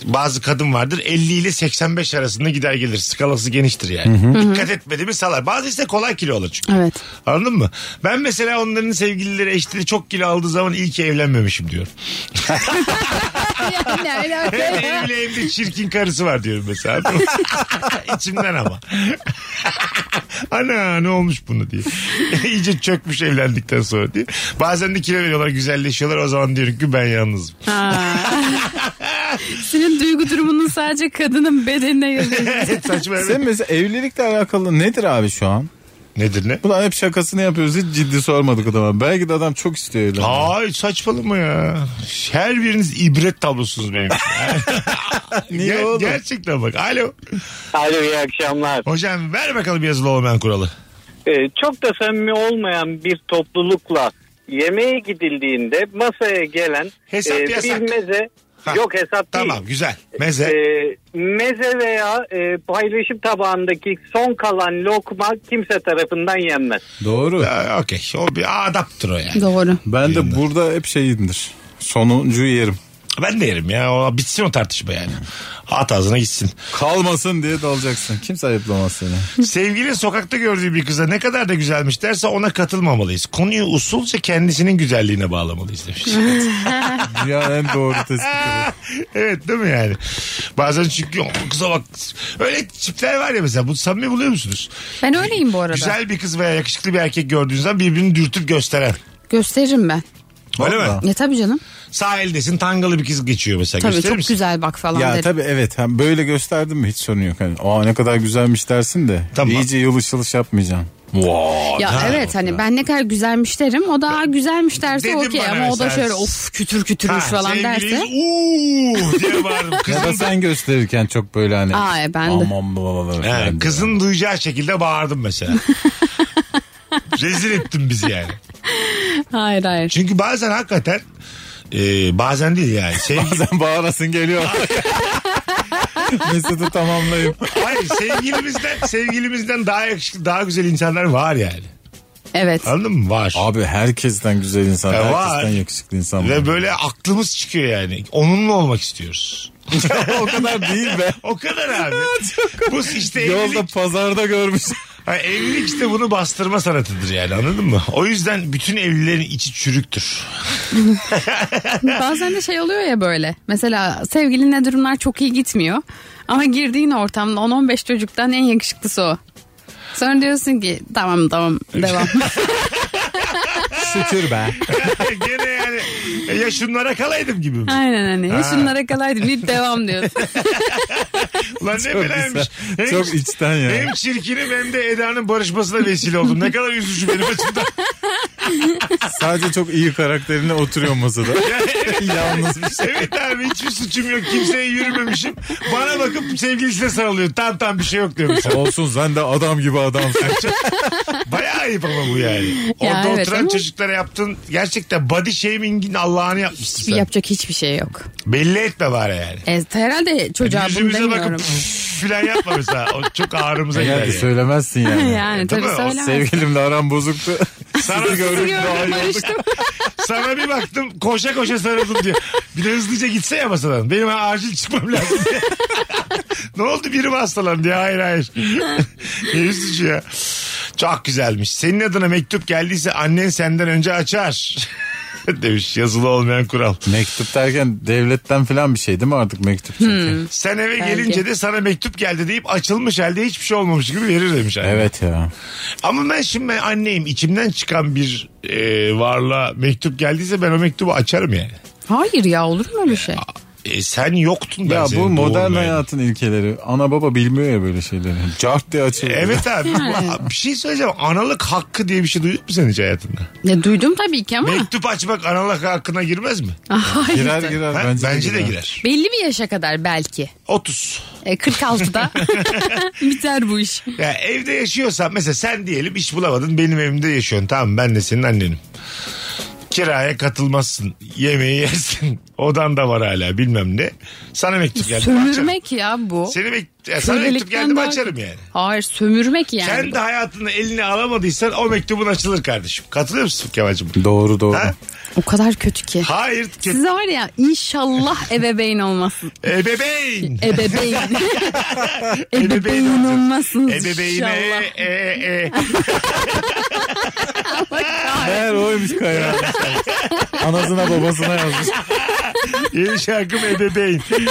S3: bazı kadın vardır 50 ile 85 arasında gider gelir. Skalası geniştir yani. Dikkat etmedi mi salar. Bazı ise kolay kilo alır çünkü.
S4: Evet.
S3: Anladın mı? Ben mesela onların sevgilileri eşleri çok kilo aldığı zaman iyi ki evlenmemişim diyorum.
S4: Yani alaka
S3: Hem
S4: ya.
S3: evli hem de çirkin karısı var diyorum mesela. İçimden ama. Ana ne olmuş bunu diye. İyice çökmüş evlendikten sonra diye. Bazen de kilo veriyorlar güzelleşiyorlar o zaman diyorum ki ben yalnızım.
S4: Senin duygu durumunun sadece kadının bedenine yazıyor.
S3: Saçma evet.
S5: Sen mesela evlilikle alakalı nedir abi şu an?
S3: Nedir ne?
S5: Ulan hep şakasını yapıyoruz hiç ciddi sormadık adama. Belki de adam çok istiyor öyle.
S3: Ay saçmalama ya. Her biriniz ibret tablosunuz benim.
S5: Niye
S3: Ger-
S5: oğlum?
S3: gerçekten bak. Alo.
S9: Alo iyi akşamlar.
S3: Hocam ver bakalım yazılı olmayan kuralı.
S9: Ee, çok da samimi olmayan bir toplulukla yemeğe gidildiğinde masaya gelen e,
S3: Hesap yasak.
S9: bir meze
S3: Ha,
S9: yok hesap
S3: Tamam
S9: değil.
S3: güzel. Meze.
S9: Ee, meze veya e, paylaşım tabağındaki son kalan lokma kimse tarafından yenmez.
S5: Doğru.
S3: Ee, Okey. O bir adaptır o yani.
S4: Doğru.
S5: Ben de burada hep şeyimdir. Sonuncu yerim.
S3: Ben de yerim ya. O, bitsin o tartışma yani. At ağzına gitsin.
S5: Kalmasın diye dalacaksın. Kimse ayıplamaz seni.
S3: Sevgili sokakta gördüğü bir kıza ne kadar da güzelmiş derse ona katılmamalıyız. Konuyu usulca kendisinin güzelliğine bağlamalıyız demiş.
S5: Dünyanın en doğru tespiti.
S3: evet değil mi yani? Bazen çünkü "O kıza bak. Öyle tipler var ya mesela. Bu samimi buluyor musunuz?
S4: Ben öyleyim bu arada.
S3: Güzel bir kız veya yakışıklı bir erkek gördüğünüz zaman birbirini dürtüp gösteren.
S4: Gösteririm ben.
S3: Öyle mi?
S5: Vallahi.
S4: Ya tabii canım.
S3: Sahildesin tangalı bir kız geçiyor mesela.
S4: Tabii
S3: E, Gösterir
S4: çok
S3: misin?
S4: güzel bak falan
S5: Ya
S4: derim.
S5: tabii evet. Hem böyle gösterdim mi hiç sorun yok. Hani, Aa ne kadar güzelmiş dersin de.
S3: Tamam.
S5: iyice yılış yılış yapmayacaksın.
S4: Ya
S3: Ha.
S4: evet hani ben ne kadar güzelmiş derim. O da "Aa, güzelmiş derse
S3: Dedim
S4: okey
S3: bana
S4: ama o da
S3: mesela-
S4: şöyle of kütür kütürmüş
S3: Ha,
S4: falan
S3: sevgiliyiz,
S4: derse.
S3: "Uuu" diye bağırdım.
S5: Ya da
S3: Kızın
S5: sen gösterirken çok böyle hani.
S4: Aa, e, ben de.
S5: Aman babalar.
S3: He,
S5: falan diye.
S3: kızın duyacağı şekilde bağırdım mesela. Rezil ettin bizi yani.
S4: Hayır hayır.
S3: Çünkü bazen hakikaten e, bazen değil yani. Sevgili,
S5: Bazen bağırasın geliyor. Mesut'u tamamlayıp.
S3: hayır sevgilimizden, sevgilimizden daha yakışıklı daha güzel insanlar var yani.
S4: Evet.
S3: Anladın mı? Var.
S5: Abi herkesten güzel insan.
S3: Ya var.
S5: herkesten yakışıklı insan.
S3: Ve
S5: var.
S3: böyle aklımız çıkıyor yani. Onunla olmak istiyoruz.
S5: o kadar değil be.
S3: O kadar abi. Bu işte
S5: Yolda
S3: evlilik,
S5: pazarda görmüş.
S3: ha, evlilik işte bunu bastırma sanatıdır yani anladın mı? O yüzden bütün evlilerin içi çürüktür.
S4: Bazen de şey oluyor ya böyle. Mesela sevgilinle durumlar çok iyi gitmiyor. Ama girdiğin ortamda 10-15 çocuktan en yakışıklısı o. Sonra diyorsun ki tamam tamam devam.
S5: Şükür be.
S3: Gene yani e, ya şunlara kalaydım gibi mi?
S4: Aynen hani.
S3: Ha.
S4: Şunlara kalaydı bir devam diyorsun.
S3: Ulan ne
S5: Çok
S3: belaymış.
S5: güzel. Çok içten ya.
S3: Hem çirkinim hem de Eda'nın barışmasına vesile oldum. Ne kadar üzücü benim açımdan.
S5: Sadece çok iyi karakterine oturuyor masada. Yalnız bir şey.
S3: evet abi hiçbir suçum yok. Kimseye yürümemişim. Bana bakıp sevgilisine sarılıyor. Tam tam bir şey yok diyor mesela.
S5: Olsun sen de adam gibi adamsın.
S3: Bayağı ayıp ama bu yani. Orada
S4: evet
S3: oturan
S4: ama-
S3: çocuklara yaptın. Gerçekten body shaming'in Allah'ını yapmışsın sen.
S4: Yapacak hiçbir şey yok.
S3: Belli etme bari yani.
S4: E, herhalde çocuğa bunu
S3: Yüzümüze bakıp
S4: demiyorum.
S3: "Püf" filan yapma mesela. O çok ağrımıza gider.
S5: Eğer de
S3: Yani.
S5: söylemezsin yani.
S4: yani
S3: Değil
S4: tabii
S3: mi? O
S4: söylemez.
S5: Sevgilimle aram bozuktu.
S3: Sana,
S5: Görüntü daha iyi oldu.
S4: Barıştım.
S3: sana bir baktım koşa koşa sarıldım diyor. Bir de hızlıca gitse ya masadan. Benim acil çıkmam lazım diye. ne oldu biri mi hastalandı ya? Hayır hayır. ne üzücü ya. Çok güzelmiş. Senin adına mektup geldiyse annen senden önce açar. demiş yazılı olmayan kural.
S5: Mektup derken devletten falan bir şey değil mi artık mektup
S3: Hmm.
S5: çünkü?
S3: Sen eve
S4: Belki.
S3: gelince de sana mektup geldi deyip açılmış halde hiçbir şey olmamış gibi verir demiş anne.
S5: Evet ya.
S3: Ama ben şimdi ben anneyim içimden çıkan bir e, varlığa mektup geldiyse ben o mektubu açarım yani.
S4: Hayır ya olur mu öyle şey?
S3: E, sen yoktun ben
S5: Ya
S3: senin
S5: bu modern
S3: doğurmayan.
S5: hayatın ilkeleri. Ana baba bilmiyor ya böyle şeyleri. Cart diye açılıyor.
S3: Evet abi bu- bir şey söyleyeceğim analık hakkı diye bir şey duydun mu sen hiç hayatında?
S4: Ya duydum tabii ki ama.
S3: Mektup açmak analık hakkına girmez mi?
S4: Hayır.
S5: Girer girer.
S3: Ha? Bence,
S5: Bence,
S3: de girer.
S4: Belli bir yaşa kadar belki.
S3: 30.
S4: E, 46'da biter bu iş.
S3: Ya evde yaşıyorsan mesela sen diyelim iş bulamadın benim evimde yaşıyorsun tamam ben de senin annenim. Kiraya katılmazsın yemeği yersin Odan da var hala bilmem ne. Sana mektup geldi. mi açarım.
S4: Sömürmek ya bu.
S3: Seni mekt- ya sana mektup
S4: Kölelikten
S3: geldi mi
S4: daha-
S3: açarım yani.
S4: Hayır sömürmek yani.
S3: Kendi hayatını eline alamadıysan o mektubun açılır kardeşim. Katılıyor musun Kemal'cim?
S5: Doğru doğru.
S3: Ha?
S4: O kadar kötü ki.
S3: Hayır. Ke-
S4: Size var ya inşallah ebeveyn olmasın.
S3: Ebeveyn.
S4: Ebeveyn.
S3: Ebeveyn
S4: ebeveyn
S3: olacak.
S4: olmasın
S3: Ebeveyne.
S4: inşallah.
S3: E, e.
S4: Allah kahretsin.
S5: Her oymuş kaynağı. Anasına babasına yazmış.
S3: Yeni şarkım ebeveyn.
S5: Bana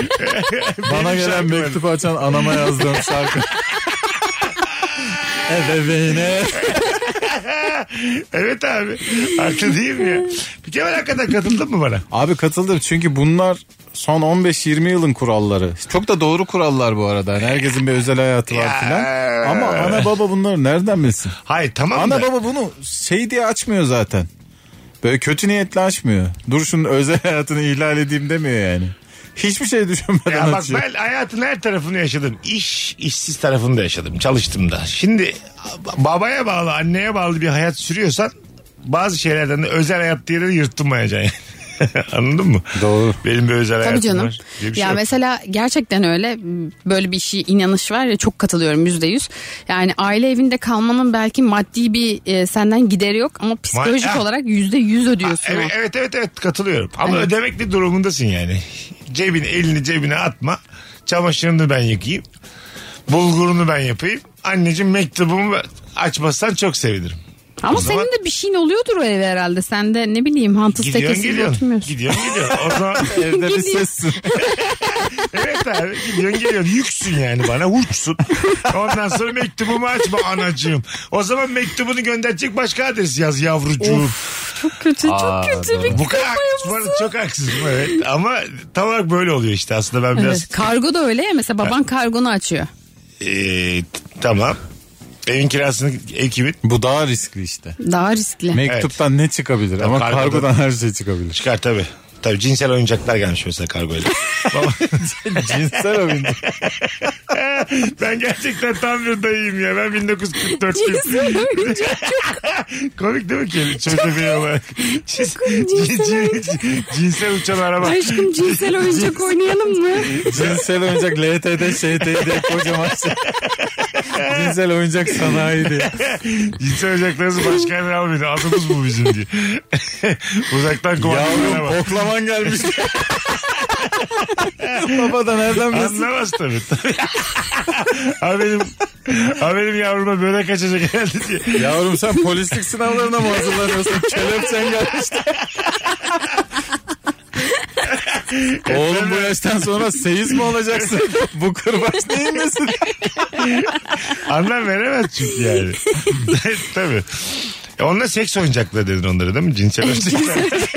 S3: Benim
S5: gelen
S3: şarkım öyle.
S5: mektup açan anama yazdığım şarkı. Ebeveyne.
S3: Evet abi. Haklı değil mi ya? Bir Kemal hakikaten katıldın mı bana?
S5: Abi katıldım çünkü bunlar son 15-20 yılın kuralları. Çok da doğru kurallar bu arada. Yani herkesin bir özel hayatı
S3: Ya.
S5: var filan. Ama ana baba bunları nereden bilsin?
S3: Hayır tamam
S5: Ana
S3: da.
S5: baba bunu şey diye açmıyor zaten. Böyle kötü niyetle açmıyor. Dur şunun özel hayatını ihlal edeyim demiyor yani. Hiçbir şey düşünmeden
S3: Ya bak
S5: açıyor.
S3: ben hayatın her tarafını yaşadım. İş, işsiz tarafını da yaşadım. Çalıştım da. Şimdi babaya bağlı, anneye bağlı bir hayat sürüyorsan bazı şeylerden de özel hayat diye de yırtılmayacaksın. yani. Anladın mı?
S5: Doğru.
S3: Benim bir özel
S4: Tabii
S3: hayatım
S4: canım.
S3: var. diye bir şey
S4: ya
S3: yok.
S4: mesela gerçekten öyle böyle bir şey inanış var ya çok katılıyorum yüzde yüz. Yani aile evinde kalmanın belki maddi bir e, senden gideri yok ama psikolojik
S3: ah.
S4: olarak yüzde yüz ödüyorsun.
S3: Evet,
S4: o.
S3: evet evet evet katılıyorum. Ama
S4: Evet.
S3: ödemekli durumundasın yani. Cebin elini cebine atma. Çamaşırını ben yıkayayım. Bulgurunu ben yapayım. Anneciğim mektubumu açmazsan çok sevinirim.
S4: Ama
S3: O zaman-
S4: senin de bir şeyin oluyordur o eve herhalde. Sen de ne bileyim hantız
S3: Gidiyorsun
S4: tekesi
S3: geliyorsun.
S4: oturmuyorsun.
S3: Gidiyorsun geliyorsun. O zaman
S5: Evde bir sessin.
S3: Evet abi gidiyorsun geliyorsun yüksün yani bana uçsun. Ondan sonra mektubumu açma anacığım. O zaman mektubunu gönderecek başka adres yaz yavrucuğum.
S4: Çok kötü çok kötü bir
S3: Bu kadar haksız, bu arada çok haksızım evet. Ama tam olarak böyle oluyor işte aslında ben biraz
S4: Evet, kargo da öyle ya mesela baban kargonu açıyor.
S3: Ee, t- tamam. Evin kirasını ev kimin?
S5: Bu daha riskli işte.
S4: Daha riskli.
S5: Mektuptan ne çıkabilir?
S3: Tabii
S5: Ama
S3: kargodan-
S5: kargodan her şey çıkabilir.
S3: Çıkar tabii. Tabii cinsel oyuncaklar gelmiş mesela kargoyla. Baba,
S5: Cinsel oyuncu.
S3: ben gerçekten tam bir dayıyım ya. Ben 1944'lüyüm.
S4: Cinsel
S3: Komik değil mi ki? Çözümü olarak. Cins- cin- cin- cinsel uçan araba.
S4: Aşkım cinsel oyuncak oynayalım mı?
S5: Cinsel oyuncak LTD, ŞTD kocaman şey. Cinsel oyuncak sanayi diye.
S3: Cinsel oyuncaklarınızı başka yerden almayın. Adımız bu bizim diye. Uzaktan kumandalara
S5: Yavrum
S3: bak.
S5: oklaman gelmiş. Baba da nereden bilsin?
S3: Anlamaz tabii. ha benim, ha benim yavruma böyle kaçacak herhalde diye.
S5: Yavrum sen polislik sınavlarına mı hazırlanıyorsun? Kelepçen gelmişti. Oğlum bu yaştan sonra seyiz mi olacaksın? Bu kırbaç değil misin?
S3: Anlam veremez çünkü yani. Tabii. E Onlar seks oyuncakları dedin onlara değil mi? Cinsel oyuncaklar.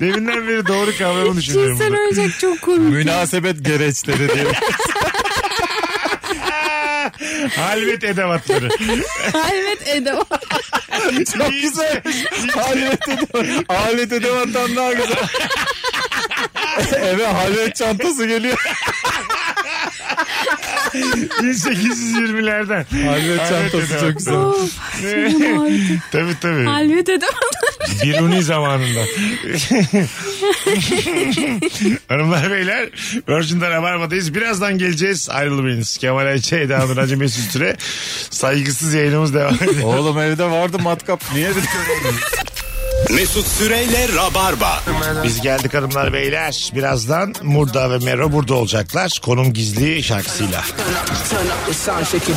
S3: Deminden beri doğru kavramı düşünüyorum.
S4: Cinsel
S3: bunu.
S4: oyuncak çok komik.
S5: Münasebet gereçleri diye.
S3: Halvet edevatları.
S4: Evet Edo.
S5: Çok güzel. Halvet edevat. Halvet edevattan daha güzel. Eve halvet çantası geliyor.
S3: 1820'lerden.
S5: Halvet çantası
S3: edevatları.
S5: çok güzel.
S3: tabii tabii.
S4: Halvet Edo.
S3: Biruni zamanında. Hanımlar beyler Virgin'de Rabarba'dayız. Birazdan geleceğiz. Ayrılmayınız. Kemal Ayça, Eda Nur, Hacı Mesut Süre. Saygısız yayınımız devam ediyor.
S5: Oğlum evde vardı matkap. Niye bir
S2: Mesut Süreyle Rabarba.
S3: Biz geldik hanımlar beyler. Birazdan Murda ve Mero burada olacaklar. Konum gizli şarkısıyla.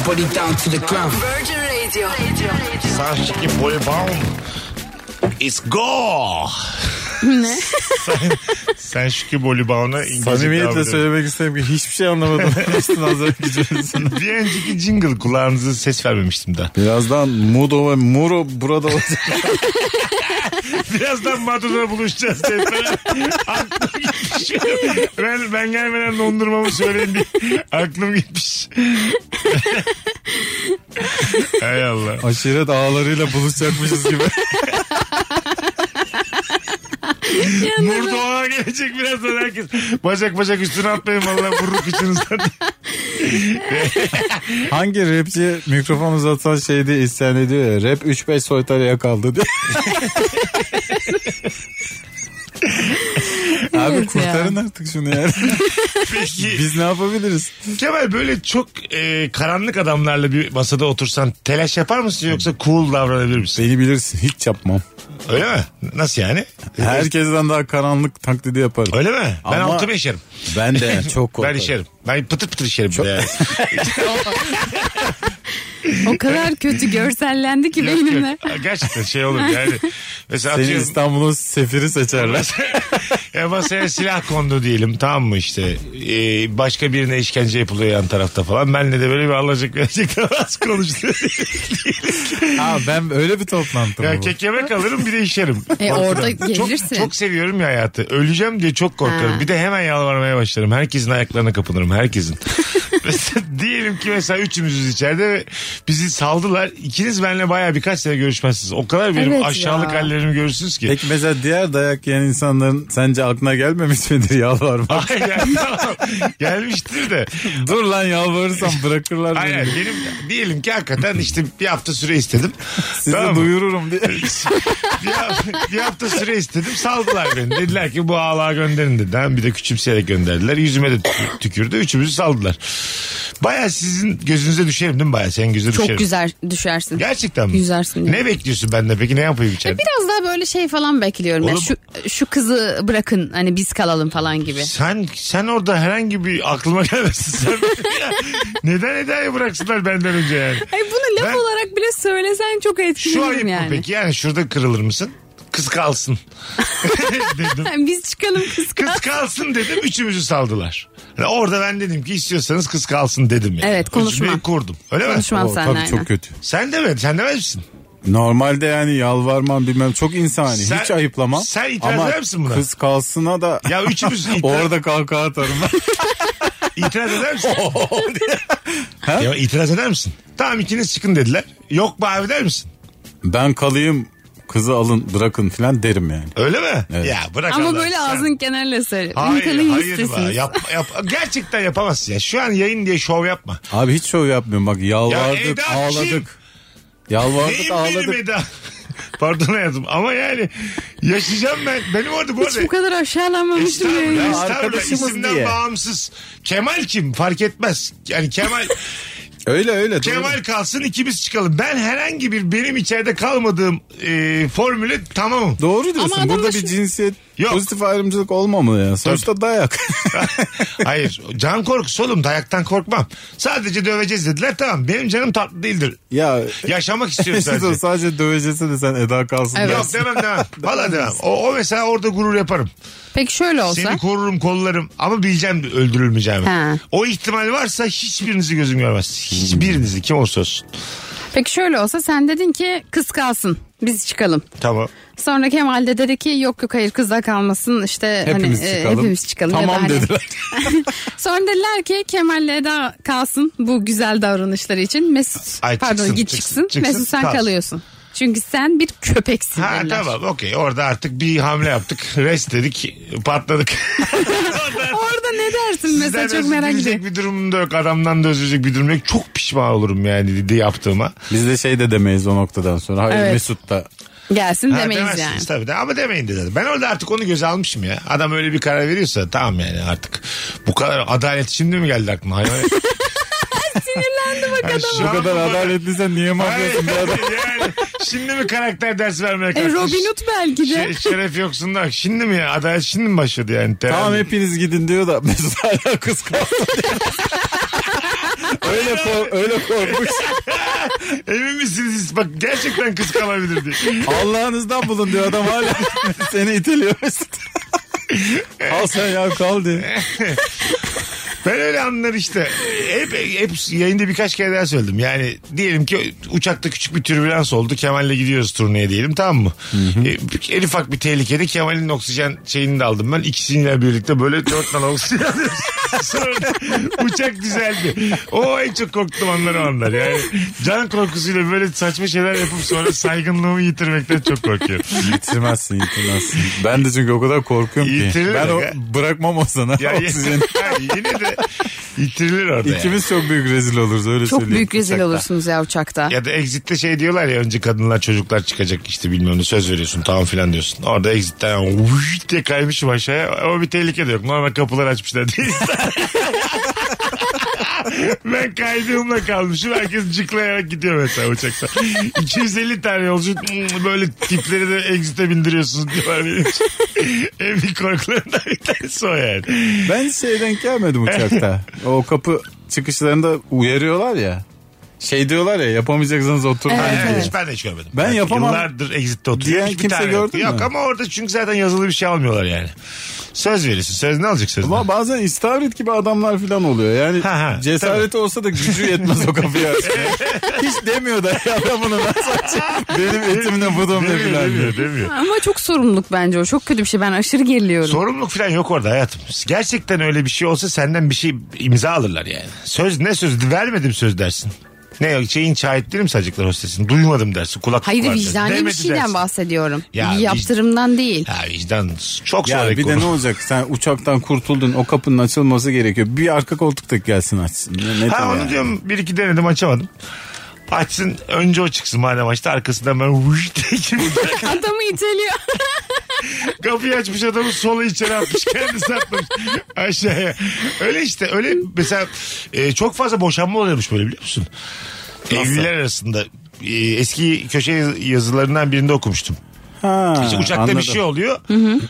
S10: Virgin Radio.
S3: Sanki Polibam. It's go.
S4: Ne?
S3: sen, sen Şükrü Bolibam'a İngilizce devam
S5: Samimiyetle
S3: edelim.
S5: söylemek istedim ki hiçbir şey anlamadım. Üstün hazırlayıcısını.
S3: Bir önceki jingle kulağınıza ses vermemiştim daha.
S5: Birazdan Mudo ve Muro burada olacak.
S3: Birazdan Mado'da buluşacağız diye sana aklım gitmiş. Ben, ben gelmeden dondurmamı söyleyin diye aklım gitmiş. Hay Allah.
S5: Aşiret ağlarıyla buluşacakmışız gibi.
S3: Murdoğa gelecek birazdan herkes. Bacak bacak üstüne atmayın valla vurur kıçınızdan.
S5: Hangi rapçi mikrofon uzatan şeyde isyan ediyor ya. Rap 3-5 soytarıya kaldı diye. Abi
S4: Evet ya.
S5: kurtarın artık şunu yani.
S3: Peki
S5: Biz ne yapabiliriz?
S3: Kemal böyle çok e, karanlık adamlarla bir masada otursan telaş yapar mısın yoksa cool davranabilir misin?
S5: Beni bilirsin hiç yapmam.
S3: Öyle mi? Nasıl yani?
S5: Herkesten daha karanlık taklidi yaparım.
S3: Öyle mi? Ben
S5: Ama-
S3: altıma işerim.
S5: Ben de çok korkarım.
S3: Ben işerim. Ben pıtır pıtır işerim. bir de yani.
S4: O kadar kötü görsellendi ki
S3: Yok, yok.
S4: beynimde.
S3: Gerçekten şey olur yani. Mesela
S5: Seni
S3: atıyorum.
S5: İstanbul'un sefiri seçerler.
S3: Ya masaya silah kondu diyelim tamam mı işte Ee, başka birine işkence yapılıyor yan tarafta falan benle de böyle bir alacak verecek az konuştu
S5: ha ben öyle bir toplantı mı
S3: ya
S5: bu?
S3: kekeme kalırım bir de işerim
S4: E, orada
S3: çok,
S4: gelirsin.
S3: çok seviyorum ya hayatı öleceğim diye çok korkarım
S4: Ha.
S3: bir de hemen yalvarmaya başlarım herkesin ayaklarına kapanırım herkesin Mesela diyelim ki mesela üçümüzüz içeride ve bizi saldılar ikiniz benimle baya birkaç sene görüşmezsiniz o kadar benim
S4: Evet ya.
S3: aşağılık hallerimi görürsünüz ki
S5: Peki mesela diğer dayak yiyen insanların sence aklına gelmemiş midir yalvarmak?
S3: Ay, yani, tamam. gelmiştir de
S5: Dur lan yalvarırsam bırakırlar beni.
S3: Aynen benim diyelim ki hakikaten işte bir hafta süre istedim.
S5: Sizi
S3: Tamam mı?
S5: duyururum diye.
S3: bir, haf- bir hafta süre istedim saldılar beni. Dediler ki bu ağlığa gönderin dedi. Hem bir de küçümseyerek gönderdiler. Yüzüme de tükür- tükürdü. Üçümüzü saldılar. Baya sizin gözünüze düşerim değil mi? Baya senin gözüne
S4: Çok
S3: düşerim.
S4: güzel düşersin.
S3: Gerçekten mi?
S4: Yüzersin.
S3: Ne bekliyorsun benden peki? Ne yapayım içeride?
S4: Biraz daha böyle şey falan bekliyorum. ya.
S3: Oğlum-
S4: şu, şu kızı bırakın hani biz kalalım falan gibi.
S3: Sen sen orada herhangi bir aklıma gelmesin sen. Neden Eda'yı bıraksınlar benden önce yani?
S4: Ay bunu laf
S3: Ben-
S4: olarak bile söylesen çok etkilenirim
S3: Şu ayıp
S4: E, yani.
S3: mı peki? Yani şurada kırılır mısın? Kız kalsın. dedim.
S4: Biz çıkalım kız kız.
S3: Kız kalsın dedim üçümüzü saldılar. Yani orada ben dedim ki istiyorsanız kız kalsın dedim. Yani.
S4: Evet, konuşma.
S3: Cümleyi kurdum. Öyle mi?
S4: Konuşmam
S5: O,
S4: seninle
S5: tabii
S4: aynen.
S5: çok kötü.
S3: Sen de mi? Sen demez misin?
S5: Normalde yani yalvarmam bilmem çok insani.
S3: Sen-
S5: Hiç ayıplamam.
S3: sen itiraz
S5: Ama
S3: eder misin buna?
S5: Kız kalsına da
S3: Ya üçümüz itiraz,
S5: orada kalka atarım ben.
S3: itiraz eder misin? ya itiraz eder misin? Tamam ikiniz çıkın dediler. Yok be abi der misin?
S5: ben kalayım kızı alın bırakın filan derim yani.
S3: Öyle mi?
S5: Evet.
S3: Ya bırak
S4: Ama
S3: Allah'ım
S4: böyle
S3: sen.
S4: ağzın kenarıyla söyle.
S3: Hayır
S4: Ünkalın
S3: hayır be.
S4: listesiniz.
S3: Yap, yap, gerçekten yapamazsın ya. Şu an yayın diye şov yapma.
S5: Abi hiç şov yapmıyorum bak
S3: Ya
S5: yalvardık
S3: Eda kim?
S5: ağladık. Yalvardık
S3: Neyim benim
S5: ağladık.
S3: Eda? Pardon hayatım ama yani yaşayacağım ben. Benim orada bu
S4: Hiç
S3: arada
S4: bu kadar aşağılanmamıştım.
S3: Estağfurullah,
S4: ya.
S3: estağfurullah.
S5: arkadaşımız
S3: İsimden
S5: diye.
S3: bağımsız. Kemal kim? Fark etmez. Yani Kemal
S5: Öyle öyle.
S3: Kemal kalsın ikimiz çıkalım. Ben herhangi bir benim içeride kalmadığım e, formüle tamamım.
S5: Doğru, doğru diyorsun.
S4: adam
S5: Burada
S4: da
S5: bir
S4: şu-
S5: cinsiyet
S3: Yok.
S5: pozitif ayrımcılık olmamalı ya. Sonuçta dayak.
S3: Hayır. Can korkusu oğlum. Dayaktan korkmam. Sadece döveceğiz dediler. Tamam. Benim canım tatlı değildir.
S5: ya
S3: Yaşamak istiyorum
S5: Mesut o
S3: sadece.
S5: sadece dövecesi de sen Eda kalsın.
S4: Evet.
S3: Yok demem demem. Valla demem. O, o mesela orada gurur yaparım.
S4: Peki şöyle olsa.
S3: Seni korurum kollarım ama bileceğim öldürülmeyeceğimi.
S4: Ha.
S3: O ihtimal varsa hiçbirinizi gözüm görmez. Hiçbirinizi kim olursa olsun.
S4: Peki şöyle olsa sen dedin ki kız kalsın. Biz çıkalım.
S3: Tamam.
S4: Sonra Kemal de dedi ki yok yok hayır kızda kalmasın işte
S5: Hepimiz
S4: hani, e,
S5: çıkalım.
S4: hepimiz çıkalım. Ya da
S5: Tamam
S4: hani-
S5: dediler.
S4: Sonra dediler ki Kemal'le Eda kalsın bu güzel davranışları için. Mesut
S3: Ay,
S4: pardon
S3: çıksın,
S4: git
S3: çıksın,
S4: çıksın.
S3: çıksın,
S4: Mesut sen
S3: kalsın.
S4: kalıyorsun. Çünkü sen bir köpeksin
S3: Ha
S4: dediler.
S3: tamam okey orada artık bir hamle yaptık. Rest dedik patladık.
S4: Orada ne dersin mesela
S3: Sizden
S4: çok merak
S3: özür dileyecek
S4: ediyorum.
S3: bir durum da yok. Adamdan da özür dileyecek bir durum yok. Çok pişman olurum yani dedi yaptığıma.
S5: Biz de şey de demeyiz o noktadan sonra. Hayır
S4: Evet.
S5: Mesut da.
S4: Gelsin
S3: Ha,
S4: demeyiz yani.
S3: demezsiniz Tabii de. ama demeyin dedi. Ben orada artık onu göze almışım ya. Adam öyle bir karar veriyorsa tamam yani artık. Bu kadar adalet şimdi mi geldi aklına? Hayvan.
S4: Sinirlendi bak
S3: Yani
S4: adam.
S3: şu
S5: Bu
S3: an
S5: kadar
S3: bu
S5: adaletliysen niye mahvediyorsun bu adamı?
S3: yani şimdi mi karakter dersi vermeye
S4: E,
S3: kalktın?
S4: Robin Hood belki de.
S3: Şe- şeref yoksun da şimdi mi ya? Adalet şimdi mi başladı yani? Terazi-
S5: Tamam hepiniz gidin diyor da Mesut hala kız kalsın diyor. öyle, kor- öyle korkmuş.
S3: Emin misiniz? Bak gerçekten kız kalabilir diye.
S5: Allah'ınızdan bulun diyor adam hala. Seni itiliyor Mesut. Al sen ya kal diyor.
S3: Ben öyle anlar işte. Hep, hep yayında birkaç kere daha söyledim. Yani diyelim ki uçakta küçük bir türbülans oldu. Kemal'le gidiyoruz turneye diyelim tamam mı? E, bir- en ufak bir tehlikede Kemal'in oksijen şeyini de aldım ben. İkisiyle birlikte böyle dört tane oksijen alıyoruz. Sonra uçak düzeldi. O en çok korktuğum anlar o anlar. Yani can korkusuyla böyle saçma şeyler yapıp sonra saygınlığımı yitirmekten çok korkuyorum.
S5: Yitirmezsin yitirmezsin. Ben de çünkü o kadar korkuyorum ki.
S3: Yitiririm
S5: Ben o,
S3: ya.
S5: bırakmam o sana
S3: Ya,
S5: oksijeni.
S3: ya yine de İttirilir orada yani.
S5: İkimiz çok büyük rezil oluruz öyle
S4: Çok
S5: söyleyeyim.
S4: büyük rezil
S3: uçakta.
S4: olursunuz ya uçakta.
S3: Ya da exit'te şey diyorlar ya önce kadınlar çocuklar çıkacak işte bilmem ne söz veriyorsun tamam filan diyorsun. Orada exit'ten yani vuş diye kaymışım aşağıya ama bir tehlike de yok. Normal kapılar açmışlar değil. ben kaydığımla kalmışım. Herkes cıklayarak gidiyor mesela uçakta. 250 tane yolcu "Hmm, böyle tipleri de exit'e bindiriyorsunuz diyorlar benim için. en büyük korkularından bir tanesi o yani.
S5: Ben şeye denk gelmedim uçakta. o kapı çıkışlarında uyarıyorlar ya. Şey diyorlar ya yapamayacaksanız oturun.
S4: Evet,
S5: diye.
S3: Evet, hiç ben de hiç görmedim.
S5: Ben yapamam.
S3: Yıllardır exit'te oturuyor.
S5: Diyen
S3: Hiçbir
S5: kimse
S3: tane yok.
S5: gördün mü?
S3: Yok ama orada çünkü zaten yazılı bir şey almıyorlar yani. Söz verirsin. Söz ne alacak sözden?
S5: Ama bazen istavrit gibi adamlar falan oluyor. Yani
S3: Ha, ha,
S5: cesareti olsa da gücü yetmez o kapıyı açmaya. Hiç demiyor da ya ben bunu nasıl açayım? Benim etimle budum ne
S3: Demiyor,
S5: filan diyor.
S3: demiyor, demiyor.
S4: Ama çok sorumluluk bence o. Çok kötü bir şey. Ben aşırı geriliyorum.
S3: Sorumluluk falan yok orada hayatım. Gerçekten öyle bir şey olsa senden bir şey imza alırlar yani. Söz ne söz? Vermedim söz dersin. Ne yok şeyin şahitleri mi sayacaklar hostesin? Duymadım dersin. Kulaklık
S4: Hayır
S3: var dersin.
S4: vicdani bir
S3: Demedi
S4: şeyden
S3: dersin.
S4: bahsediyorum.
S3: Ya,
S4: bir
S3: vic-
S4: yaptırımdan değil.
S3: Ya vicdan çok
S5: Ya
S3: sonraki
S5: bir de
S3: konu.
S5: ne olacak? Sen uçaktan kurtuldun. O kapının açılması gerekiyor. Bir arka koltuktaki gelsin açsın. Ne, ne
S3: Ha
S5: diyor
S3: onu
S5: yani?
S3: diyorum bir iki denedim açamadım. Açsın önce o çıksın madem açtı arkasından ben vuş diye gireyim.
S4: Adamı iteliyor.
S3: Kapıyı açmış adamı sola içeri atmış. Kendisi atmış aşağıya. Öyle işte öyle mesela e, çok fazla boşanma oluyormuş böyle biliyor musun? Evliler arasında e, eski köşe yaz- yazılarından birinde okumuştum.
S5: Ha,
S3: İşte uçakta
S5: anladım.
S3: bir şey oluyor.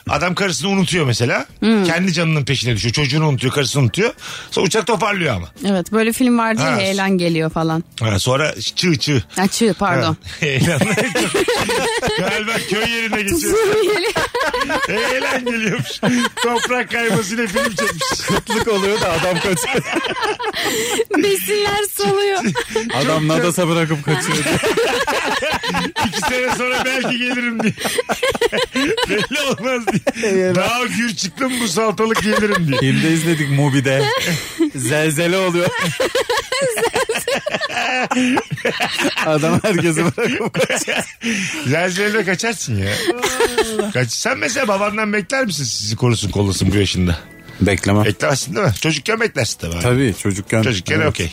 S3: Adam karısını unutuyor mesela. Kendi canının peşine düşüyor. Çocuğunu unutuyor, karısını unutuyor. Sonra uçak toparlıyor ama.
S4: evet böyle film vardı ya
S3: Ha.
S4: heyelan geliyor falan.
S3: Ha, sonra çığ çığ.
S4: Ha, çığ pardon.
S3: Eğlen. Galiba köy yerine geçiyor. Eğlen geliyormuş. Toprak kaymasıyla film çekmiş.
S5: Kıtlık oluyor da adam kaçıyor.
S4: Besinler soluyor.
S5: adam nadasa bırakıp kaçıyor.
S3: İki sene sonra belki gelirim diye. Belli olmaz diye. Daha gür çıktım bu saltalık gelirim diye.
S5: Filmde izledik Mubi'de. Zelzele oluyor. Adam herkesi bırakıp kaçıyor.
S3: Zelzelede kaçarsın ya. Kaç. Sen mesela babandan bekler misin sizi korusun kollasın bu yaşında?
S5: Bekleme.
S3: Beklersin değil mi? Çocukken beklersin tabii.
S5: E, Tabii çocukken.
S3: Çocukken
S5: Evet.
S3: okey.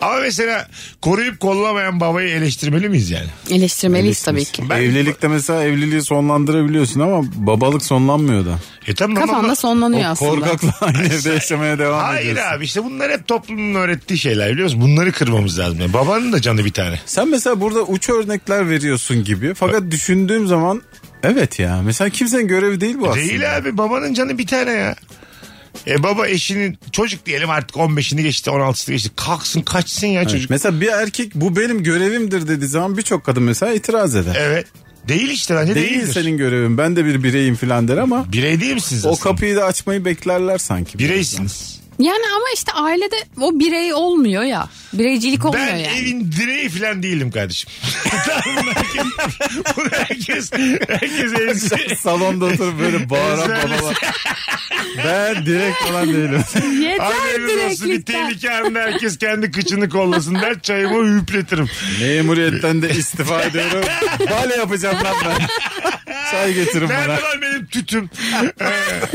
S3: Ama mesela koruyup kollamayan babayı eleştirmeli miyiz yani?
S4: Eleştirmeliyiz tabii ki.
S3: Ben-
S5: Evlilikte mesela evliliği sonlandırabiliyorsun ama babalık sonlanmıyor da.
S3: E tamam ama-
S4: Kafanda sonlanıyor aslında.
S5: Korkakla aynı evde yaşamaya devam
S3: Hayır
S5: ediyorsun.
S3: abi işte bunlar hep toplumun öğrettiği şeyler biliyor musun? Bunları kırmamız lazım. Yani babanın da canı bir tane.
S5: Sen mesela burada uç örnekler veriyorsun gibi. Fakat düşündüğüm zaman evet ya. Mesela kimsenin görevi değil bu aslında.
S3: Değil abi babanın canı bir tane ya. E baba eşinin çocuk diyelim artık 15'ini geçti 16'sını geçti. Kalksın kaçsın ya çocuk.
S5: Mesela bir erkek bu benim görevimdir dediği zaman birçok kadın mesela itiraz eder.
S3: Evet. Değil işte bence
S5: değil
S3: değildir.
S5: senin görevin. Ben de bir bireyim filan der ama
S3: Birey değil misiniz
S5: o
S3: aslında?
S5: kapıyı da açmayı beklerler sanki.
S3: Bireysiniz.
S4: Yani ama işte ailede o birey olmuyor ya. Bireycilik olmuyor
S3: Ben
S4: yani.
S3: evin direği falan değilim kardeşim. Tamam, bunu herkes, bunu herkes, herkes ezber-
S5: Salonda oturup böyle bağıran
S3: Ezberlesin.
S5: babalar. Ben direkt falan değilim.
S3: Haberiniz
S4: Yeter
S3: olsun bir
S4: direklikten.
S3: tehlike anında herkes kendi kıçını kollasın der çayımı hüpletirim.
S5: Memuriyetten de istifa ediyorum. Bale yapacağım lan ben. Çay getirin
S3: Nerede
S5: bana.
S3: lan benim tütüm? Ee,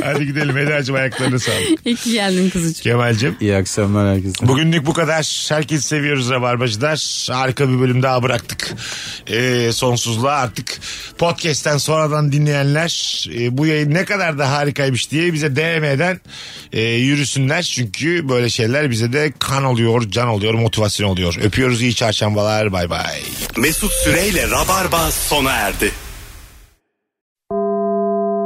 S3: Hadi gidelim Eda'cığım ayaklarını sağlık.
S4: İyi ki geldin kuzucuğum.
S3: Kemal'cim.
S5: İyi akşamlar herkese.
S3: Bugünlük bu kadar. Herkesi seviyoruz Rabarbacılar. Harika bir bölüm daha bıraktık. Ee, sonsuzluğa artık podcast'ten sonradan dinleyenler e, bu yayın ne kadar da harikaymış diye bize DM'den e, yürüsünler. Çünkü böyle şeyler bize de kan oluyor, can oluyor, motivasyon oluyor. Öpüyoruz iyi çarşambalar. Bay bay.
S2: Mesut Süreyle Rabarba sona erdi.